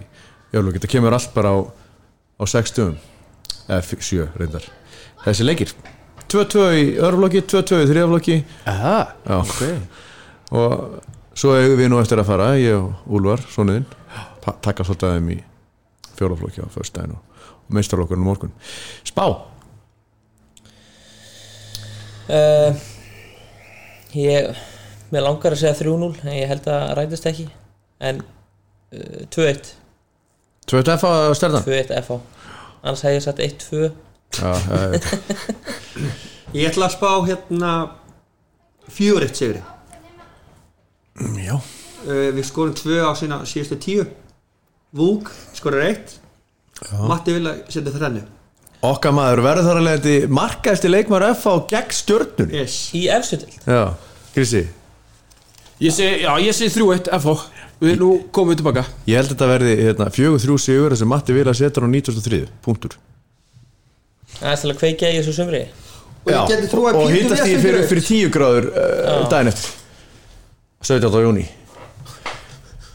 F: jólflokki þetta kemur allt bara á, á 6 stöðum eða 7 reyndar þessi leikir 2-2 í örflokki, 2-2 í þriðaflokki
D: aha,
F: Já, ok Og svo eigum við nú eftir að fara Ég og Úlvar, sonuðinn Takka svolítið aðeim í fjólaflokki á föstudaginn og, og meistarlokkurinn á morgun Spá,
B: Uh, ég mér langar að segja 3-0 en ég held að það rætist ekki en uh, 2-1
F: tvötu F að stjarnan
B: 2-1 FH annars hefði ég sagt 1-2
F: Já, já, já.
C: Ég ætla að spá hérna fjórið sigri
F: já,
C: uh, Við skorum tvö á sína síðustu tíu Vúk skorur eitt Matti vil að setja þrennu
F: okkar maður verður þar að leiði markaðasti leikmaður F á gegn stjörnunni
C: yes.
B: í efstutild
F: Já, Krissi
D: ég segi, já, ég segi 3-1 FH, við nú komum við tilbaka
F: Ég held að þetta verði hérna, 4-3 sigur sem Matti vil að setja á 93 punktur
B: það er til að kveikja í þessu sumri
C: Og ég geti trú að
F: og hýtast því fyrir, fyrir 10 gráður uh, daginn eftir 17. júni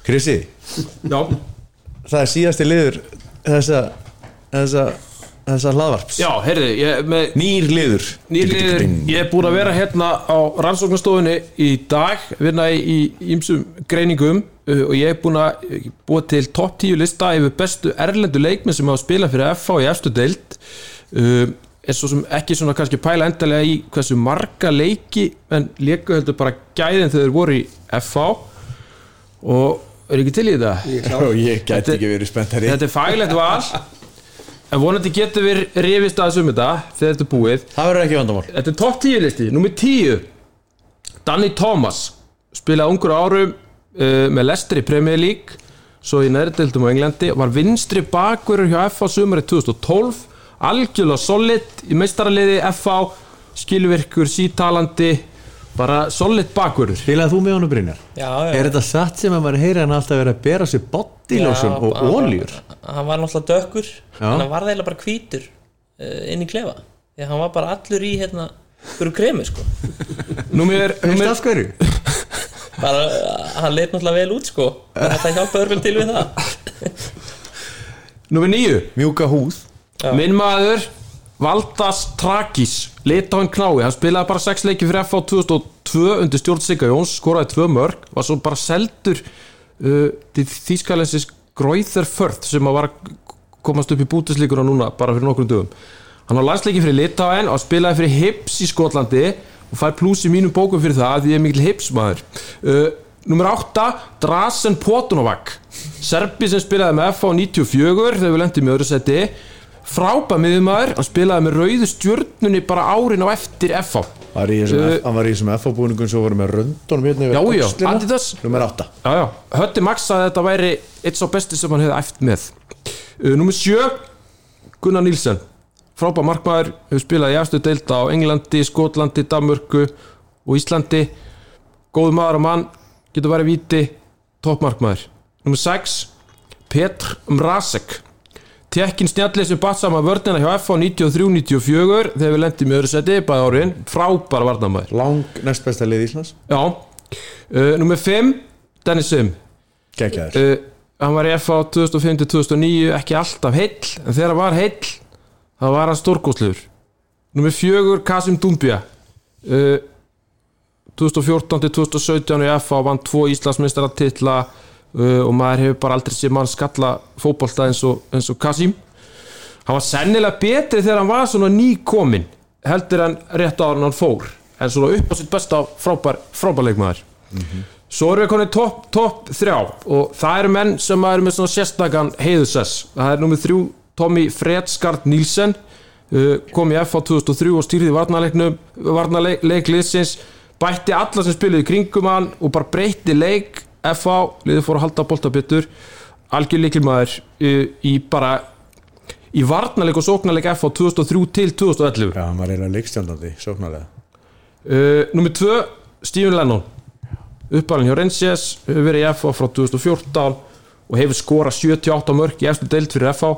F: Krissi,
E: Já,
F: það er síðasti liður þessa, þessa, þessa hlaðvarps
D: já, heyrðu, ég, með
F: nýr liður
D: Nýliður, ég er búin að vera hérna á rannsóknastofunni í dag, vinna í ímsum greiningum uh, og ég er búin að uh, búa til topp 10 lista yfir bestu erlendu leikminn sem hafa spilað fyrir FH í efstu deild uh, er svo sem ekki svona kannski pæla endalega í hversu marga leiki en leiku heldur bara gæðin þegar þeir voru í FH og er ekki til í þetta?
F: og ég
D: Þetta-
F: gæti ekki verið spenntari
D: Þetta er faglegt val en vonandi getur við rifist aðeins um þetta þegar þetta er búið
F: það verður ekki vandamál
D: Þetta er topp 10 listi, nummer 10 Danny Thomas spilaði ungur á árum uh, með Leicester í Premier League svo í neðrildum á Englandi var vinstri bakverður hjá FH sumarið 2012 algjörlega solid í meistaraliði FH skilvirkur, sítalandi bara solid bakverður
F: Fylgðað þú með honum Brynjar?
B: já,
F: Er þetta satt sem að maður heyri hann alltaf verið að bera sér bodylotion og
B: hann-
F: oljur?
B: hann var náttúrulega dökkur
F: Já.
B: en hann var það bara hvítur uh, inn í klefa því að hann var bara allur í hérna hverju kremi sko
D: Númer,
F: Veist
D: númer,
F: af hverju?
B: bara, uh, hann leit náttúrulega vel út sko þetta hjálpaði örgul til við það
D: númer 9
F: Mjúka húð
D: Minn maður Valdas Trakis Lita hann knái, hann spilaði bara 6 leiki fyrir FH 2002 undir stjórn Sigga Jóns skoraði 2 mörg, var svo bara seldur uh, til þýskalensis Gróiðar Förð sem að var að komast upp í bútislíkuna núna bara fyrir nokkrum dögum hann var landsleiki fyrir Litauen og spilaði fyrir Hips í Skotlandi og fær pluss í mínum bókum fyrir það af því ég er mikil Hips maður uh, Númer 8, Drasen Potunovak Serbi sem spilaði með FH 94 þegar við lendum í öðru seti frábæð miðjumæður, hann spilaði með rauðu stjörnunni bara árin á eftir FH
F: Var í þessum F- Hann var í þessum F-búningum svo voru með röndunum hérna
D: Uh, Já,
F: yfir
D: já,
F: öxlina.
D: Adidas.
F: Númer 8
D: já, já. Hötti Max sagði að þetta væri eitt sá besti sem hann hefði æft með uh, Númer sjö Gunnar Nílsen frábær markmaður, hefur spilað í afstu deilda á Englandi, Skotlandi, Danmörku og Íslandi góð maður og mann, getur verið víti toppmarkmaður. Númer 6 Petr Mrazek Tekkin snjallið sem batt saman vörnina hjá FH 93-94 þegar við lendum í öðru seti bæði áriðin, frábær varnamæður
F: lang næst besta lið Íslands
D: Já, uh, nummer 5 Dennis Sim
F: geggjaður
D: uh, Hann var í FH 2005-2009 ekki alltaf heill, en þegar hann var heill þá var hann stórkostlegur Nummer 4 Kasim Dumbia uh, 2014-2017 í FH vann tvo Íslandsmeistaratitla uh, og maður hefur bara aldrei séð mann skalla fótbolta eins og, eins og Kasim Hann var sennilega betri þegar hann var svona nýkomin heldur en rétt ára en hann fór en svona upp á sitt besta frábær, frábær leikmaður Svo erum við konið topp top þrjá og það eru menn sem eru með svona sérstakann heiðusess. Það er nummið þrjú Tommy Fredsgard Nílsen uh, kom í FH 2003 og stýrði varnarleiknum, varnarleikliðsins bætti alla sem spiluði í kringum hann og bara breytti leik FH, liðið fór að halda boltabittur algjörleikilmaður uh, í bara í varnarleik og sóknarleik FH 2003 til 2011
F: já, hann var eiginlega leikstjórnandi, sóknarlega
D: Uh, Númið tvö, Stephen Lennon uppalinn hjá Rensies hefur verið í FH frá 2014 og hefur skorað 78 mörk í eftir deild fyrir FH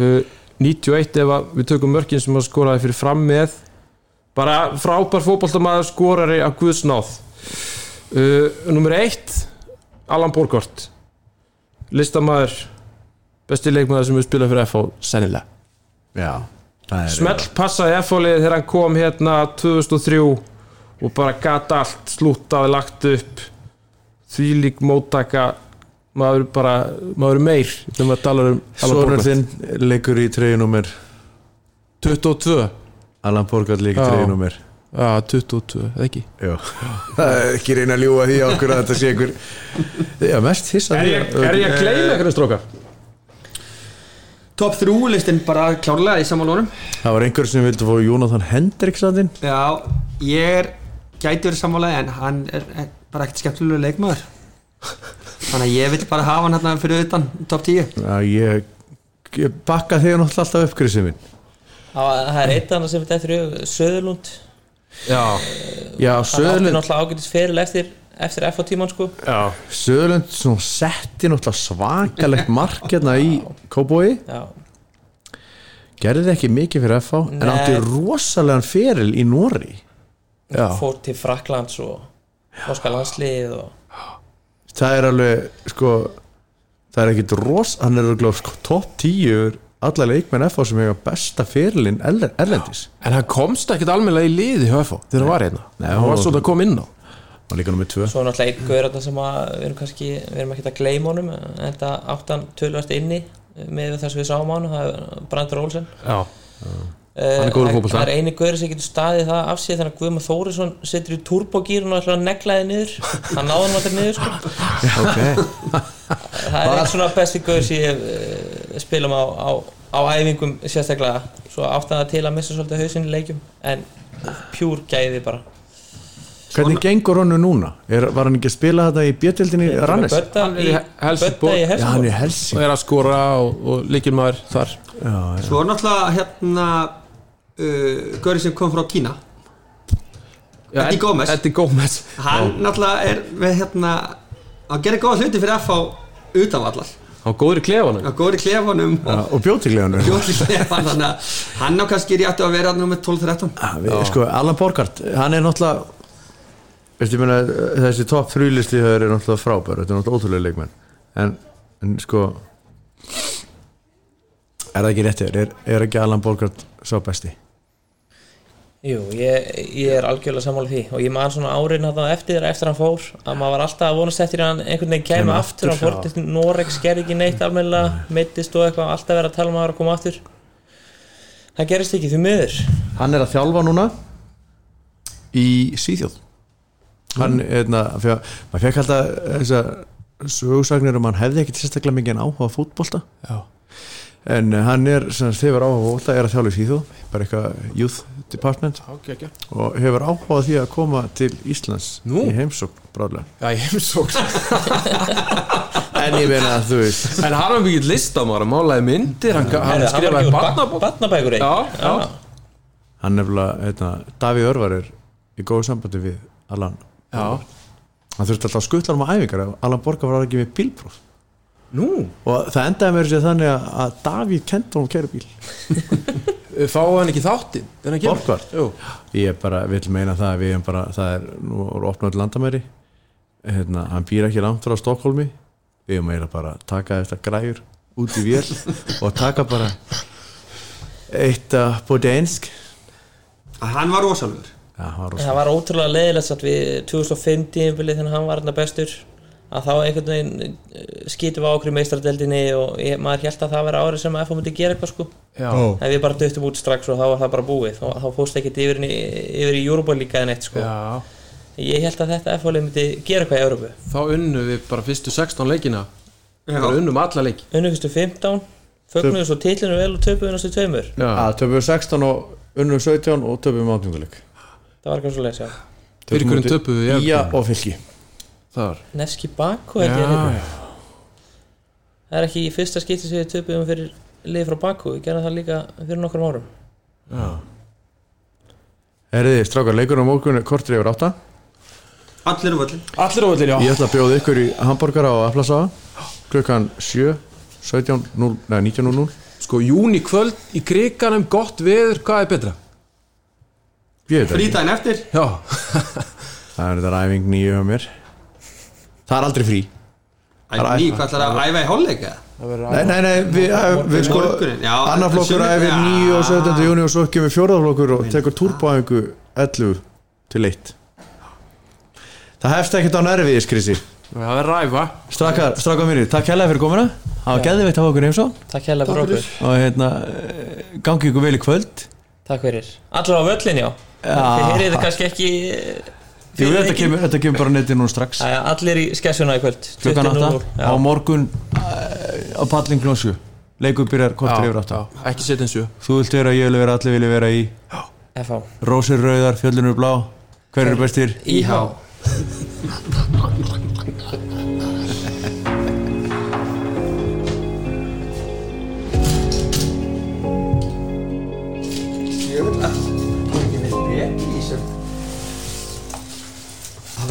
D: uh, 91 ef að við tökum mörkin sem hann skoraði fyrir fram með bara frábær fótboltamaður skorari af Guðsnáð uh, Númið eitt Allan Borgort listamaður besti leikmaður sem við spilað fyrir FH sennilega
F: já, það er
D: Smell passaði F-fólið þegar hann kom hérna 2003 og bara gata allt, slútaði lagt upp þvílík móttaka maður bara, maður er meir þegar maður talar um Alan
F: Sónur
D: Borgvart.
F: þinn leikur í treyjunúmer
D: 22
F: Allan Borgard líka
D: Já.
F: treyjunúmer
D: Já, 22, eða ekki
F: Já, það er ekki reyna að ljúa því á okkur að þetta sé ykkur Já, mest hissa
D: Er ég, er ég að gleyma eitthvað strókar?
C: Top 3 listin bara klárlega í samanlónum
F: Það var einhver sem vildi fá Jónathan Hendriks að þinn
C: Já, ég er gæti verið sammála en hann er er bara ekkert skemmtilegur leikmaður Þannig að ég vil bara hafa hann hérna fyrir utan top 10
F: Já, ég, ég bakka þig náttúrulega alltaf upp, Kristið minn
B: Það það er eitt annað sem þetta er Söðurlund
D: Já,
B: Það
F: Já,
B: átti
F: Söðlund
B: náttúrulega ágætis feril eftir, eftir FH tíman sko
D: já
F: Söðlund svona setti náttúrulega svakalegt mark hérna í Kóbói
B: Já,
F: Gerði ekki mikið fyrir FH
B: Nei.
F: En átti rosalegan feril í Nóri Já,
B: fór til Fraklands og Norska landslið og
F: það er alveg sko, það er ekkit ros hann er alveg sko, topp 10 alla leikmenn FH sem hefur besta fyrirlinn erlendis
D: En hann komst ekkert almennilega í liði hjá FH þegar hann var hérna
F: Nei,
D: Hann var
F: hún-
D: svolítið að koma inn á
F: og líka nummið 2
B: svo er náttúrulega einn gaur þarna sem að við erum kannski, við erum ekkert að gleyma honum en þetta áttan tölvast inni með það sem við sáum á hann, það er Brandur Olsen
D: Já,
B: hann
D: er góður í fótbolta.
B: Það er eini gaur sem getur staðið það af sér þannig að Guðmund Þórisson setur í turbogýr og ætlar að negla þið niður hann náði hann alltaf niður sko.
F: okay.
B: það er eitt svona besti gaur sem ég eh, spilum á, á, á æfingum sérstaklega svo áttan það til að missa svolítið hausinn í leikjum en pjúr gæði bara
F: hvernig gengur honum núna? Er, var hann ekki að spila þetta í bjötildinni Rannes?
B: Bödda
D: Hann er í
B: í
D: Helsingborg.
B: Bödda í
F: Já, hann
B: Helsingborg
D: og
F: er helsi
D: er að skora og, og líkir maður þar
C: Svo er náttúrulega hérna uh, Gauri sem kom frá Kína
D: Já,
C: Eddie Gomez.
D: Eddie Gómez
C: Hann náttúrulega er með hérna hann gerir góða hluti fyrir FH utan vallar
D: Hann var góður í klefanum
C: Hann góður í klefanum og
F: og bjótileganur
C: bjóð til klefan þannig að hann á kannski réttu að vera hann með 12-13
F: sko, Alan Borgart, hann er náttúrulega Veistu, ég meina, þessi topp þrjúlisti höfður er náttúrulega frábær, þetta er náttúrulega ótrúlega leikmenn en, en sko er það ekki réttið er, er ekki Alan Borgart sá besti?
B: Jú, ég, ég er algjörlega sammála því og ég man svona árin hann eftir eftir hann fór að maður var alltaf að vonast eftir að hann einhvern veginn kæmi
F: Kæmi
B: aftur, hann fór til Norex gerði ekki neitt almennilega, meittist og eitthvað alltaf verið að tala um að hann var að koma aftur það gerist ekki því miður
F: Hann er að þjálfa núna í Svíþjóð hann, hérna, fyrir að maður fekk alltaf þessar sögursagnir um að hann hefði ekkit sérstaklega mikið en áhuga á fótbolta Já. en eh, hann er sem sagt, hefur áhuga á fótbolta, er að þjálfa í Svíþjóð bara eitthvað youth department
D: okay, okay.
F: og hefur áhuga á því að koma til Íslands
D: Nú.
F: í heimsókn bráðlega
D: Já, ég hef svo
F: en ég meina að þú veist
E: En hann var mikið listamar, hann málaði myndir Hann, hann
B: Heyrðu, hann var
E: skrifaði
B: ekki úr
E: barnabók
B: barnabækur barnabækur
E: Já,
B: einn.
E: já.
F: hann nefnilega, hérna, Davíð Örvar er í góðu sambandi við Allan
E: Já.
F: hann þurfti alltaf að skuttla hann á æfingar ef Allan Borga var ekki með bílpróf
E: Nú,
F: og það endaði með þessi þannig að- að Davíð kendi hann að kæra bíl
E: fáið eh, hann ekki þáttinn þegar hann kemur?
F: Borgvart?
E: Jú.
F: ég er bara, vil meina það að við erum bara, það er, nú er opnað landamæri hérna, hann býr ekki langt frá Stokkólmi, við erum eiginlega bara að taka þetta græjur út í vél og taka bara eitt uh, bóti einsk
C: að hann var rosalur
F: já, það
B: En það
F: var rosa
B: var ótrúlega leðilegt satt við 2005 tíðinbilið þegar hann var hérna bestur að þá einhvern veginn eh, skýtum við á okkur í meistradeldinni og ég, maður held að það væri árið sem FH myndi gera eitthvað sko
E: Já.
F: Ó.
B: en við bara döttum út strax og þá var það bara búið þá, þá fóst ekkert yfir, inn í- yfir í Europa líka en eitt sko
E: Já.
B: ég held að þetta FH lið myndi gera eitthvað í Európu
E: Þá unnum við bara fyrstu 16 leikina
C: Já.
E: Bara unnum alla leik
B: unnugstu 15 fögnuðu svo titlinu vel og töpuðu næstu tveimur
E: Já.
F: að töpum 16 og unnum 17 og töpum átninguleik
B: það var eitthvað svo leiðis já
E: Fyrir hverjum töpuðum við í
F: Ía
E: Evrópu?
F: og fylki
E: Þar
B: Nefski Bakko held ég að
E: Já,
B: heita. það er ekki í fyrsta skipti sem við töpuðum fyrir lið frá Bakko við gerðum það líka fyrir nokkrum árum
F: Herriði, strákar, leikurinn á morgun er kortur yfir átta
C: allir um öllin
E: Allir á öllir, já
F: Ég ætla að bjóða ykkur í hambúrgara á Aflasaga klukkan 7 17, 0, nei, 19.00
E: Sko, júni kvöld í kriganum, gott veður, hvað er betra?
F: Ég veit það ekki.
C: frítaginn eftir
E: Já,
F: Það er þetta ræfing nýju hjá mér Það er aldrei frí
C: Æ, ný, hvað ætlar að æfa í hálfleika?
F: Nei, nei, nei, við, við sko
C: Morgunin, já.
F: Annar flokkur
C: Sunnudag.
F: æfir 9 og 17. júni og svo kemur fjórðaflokkur og tekur túrbáðingu 11 til 1 Það hefst ekkert á nerviðis, Krissi
E: það er ræfa
F: Strakar, strakar mínir, takk hella fyrir komuna Það var geðveitt að hafa okkur heimsó
B: takk hella fyrir okkur
F: og hérna, eh, gangi ykkur vel í kvöld
B: takk fyrir allir á völlin já þið heyrið þetta kannski ekki eh,
F: Jú,
B: fyrir
F: þetta
B: leikinn.
F: kemur, þetta kemur bara netti núna strax
B: Jæja, allir í skessuna í kvöld
F: klukkan
B: 20:00.
F: 8
B: Já.
F: á morgun eh, á pallin glósju leikur byrjar kortur yfir 8
E: Ekki setja eins og
F: Þú vilt vera, ég vil vera, allir vilja vera í
B: FH
F: Rósir rauðar, fjöllunur blá Hver eru bestir?
B: IH
C: Íhá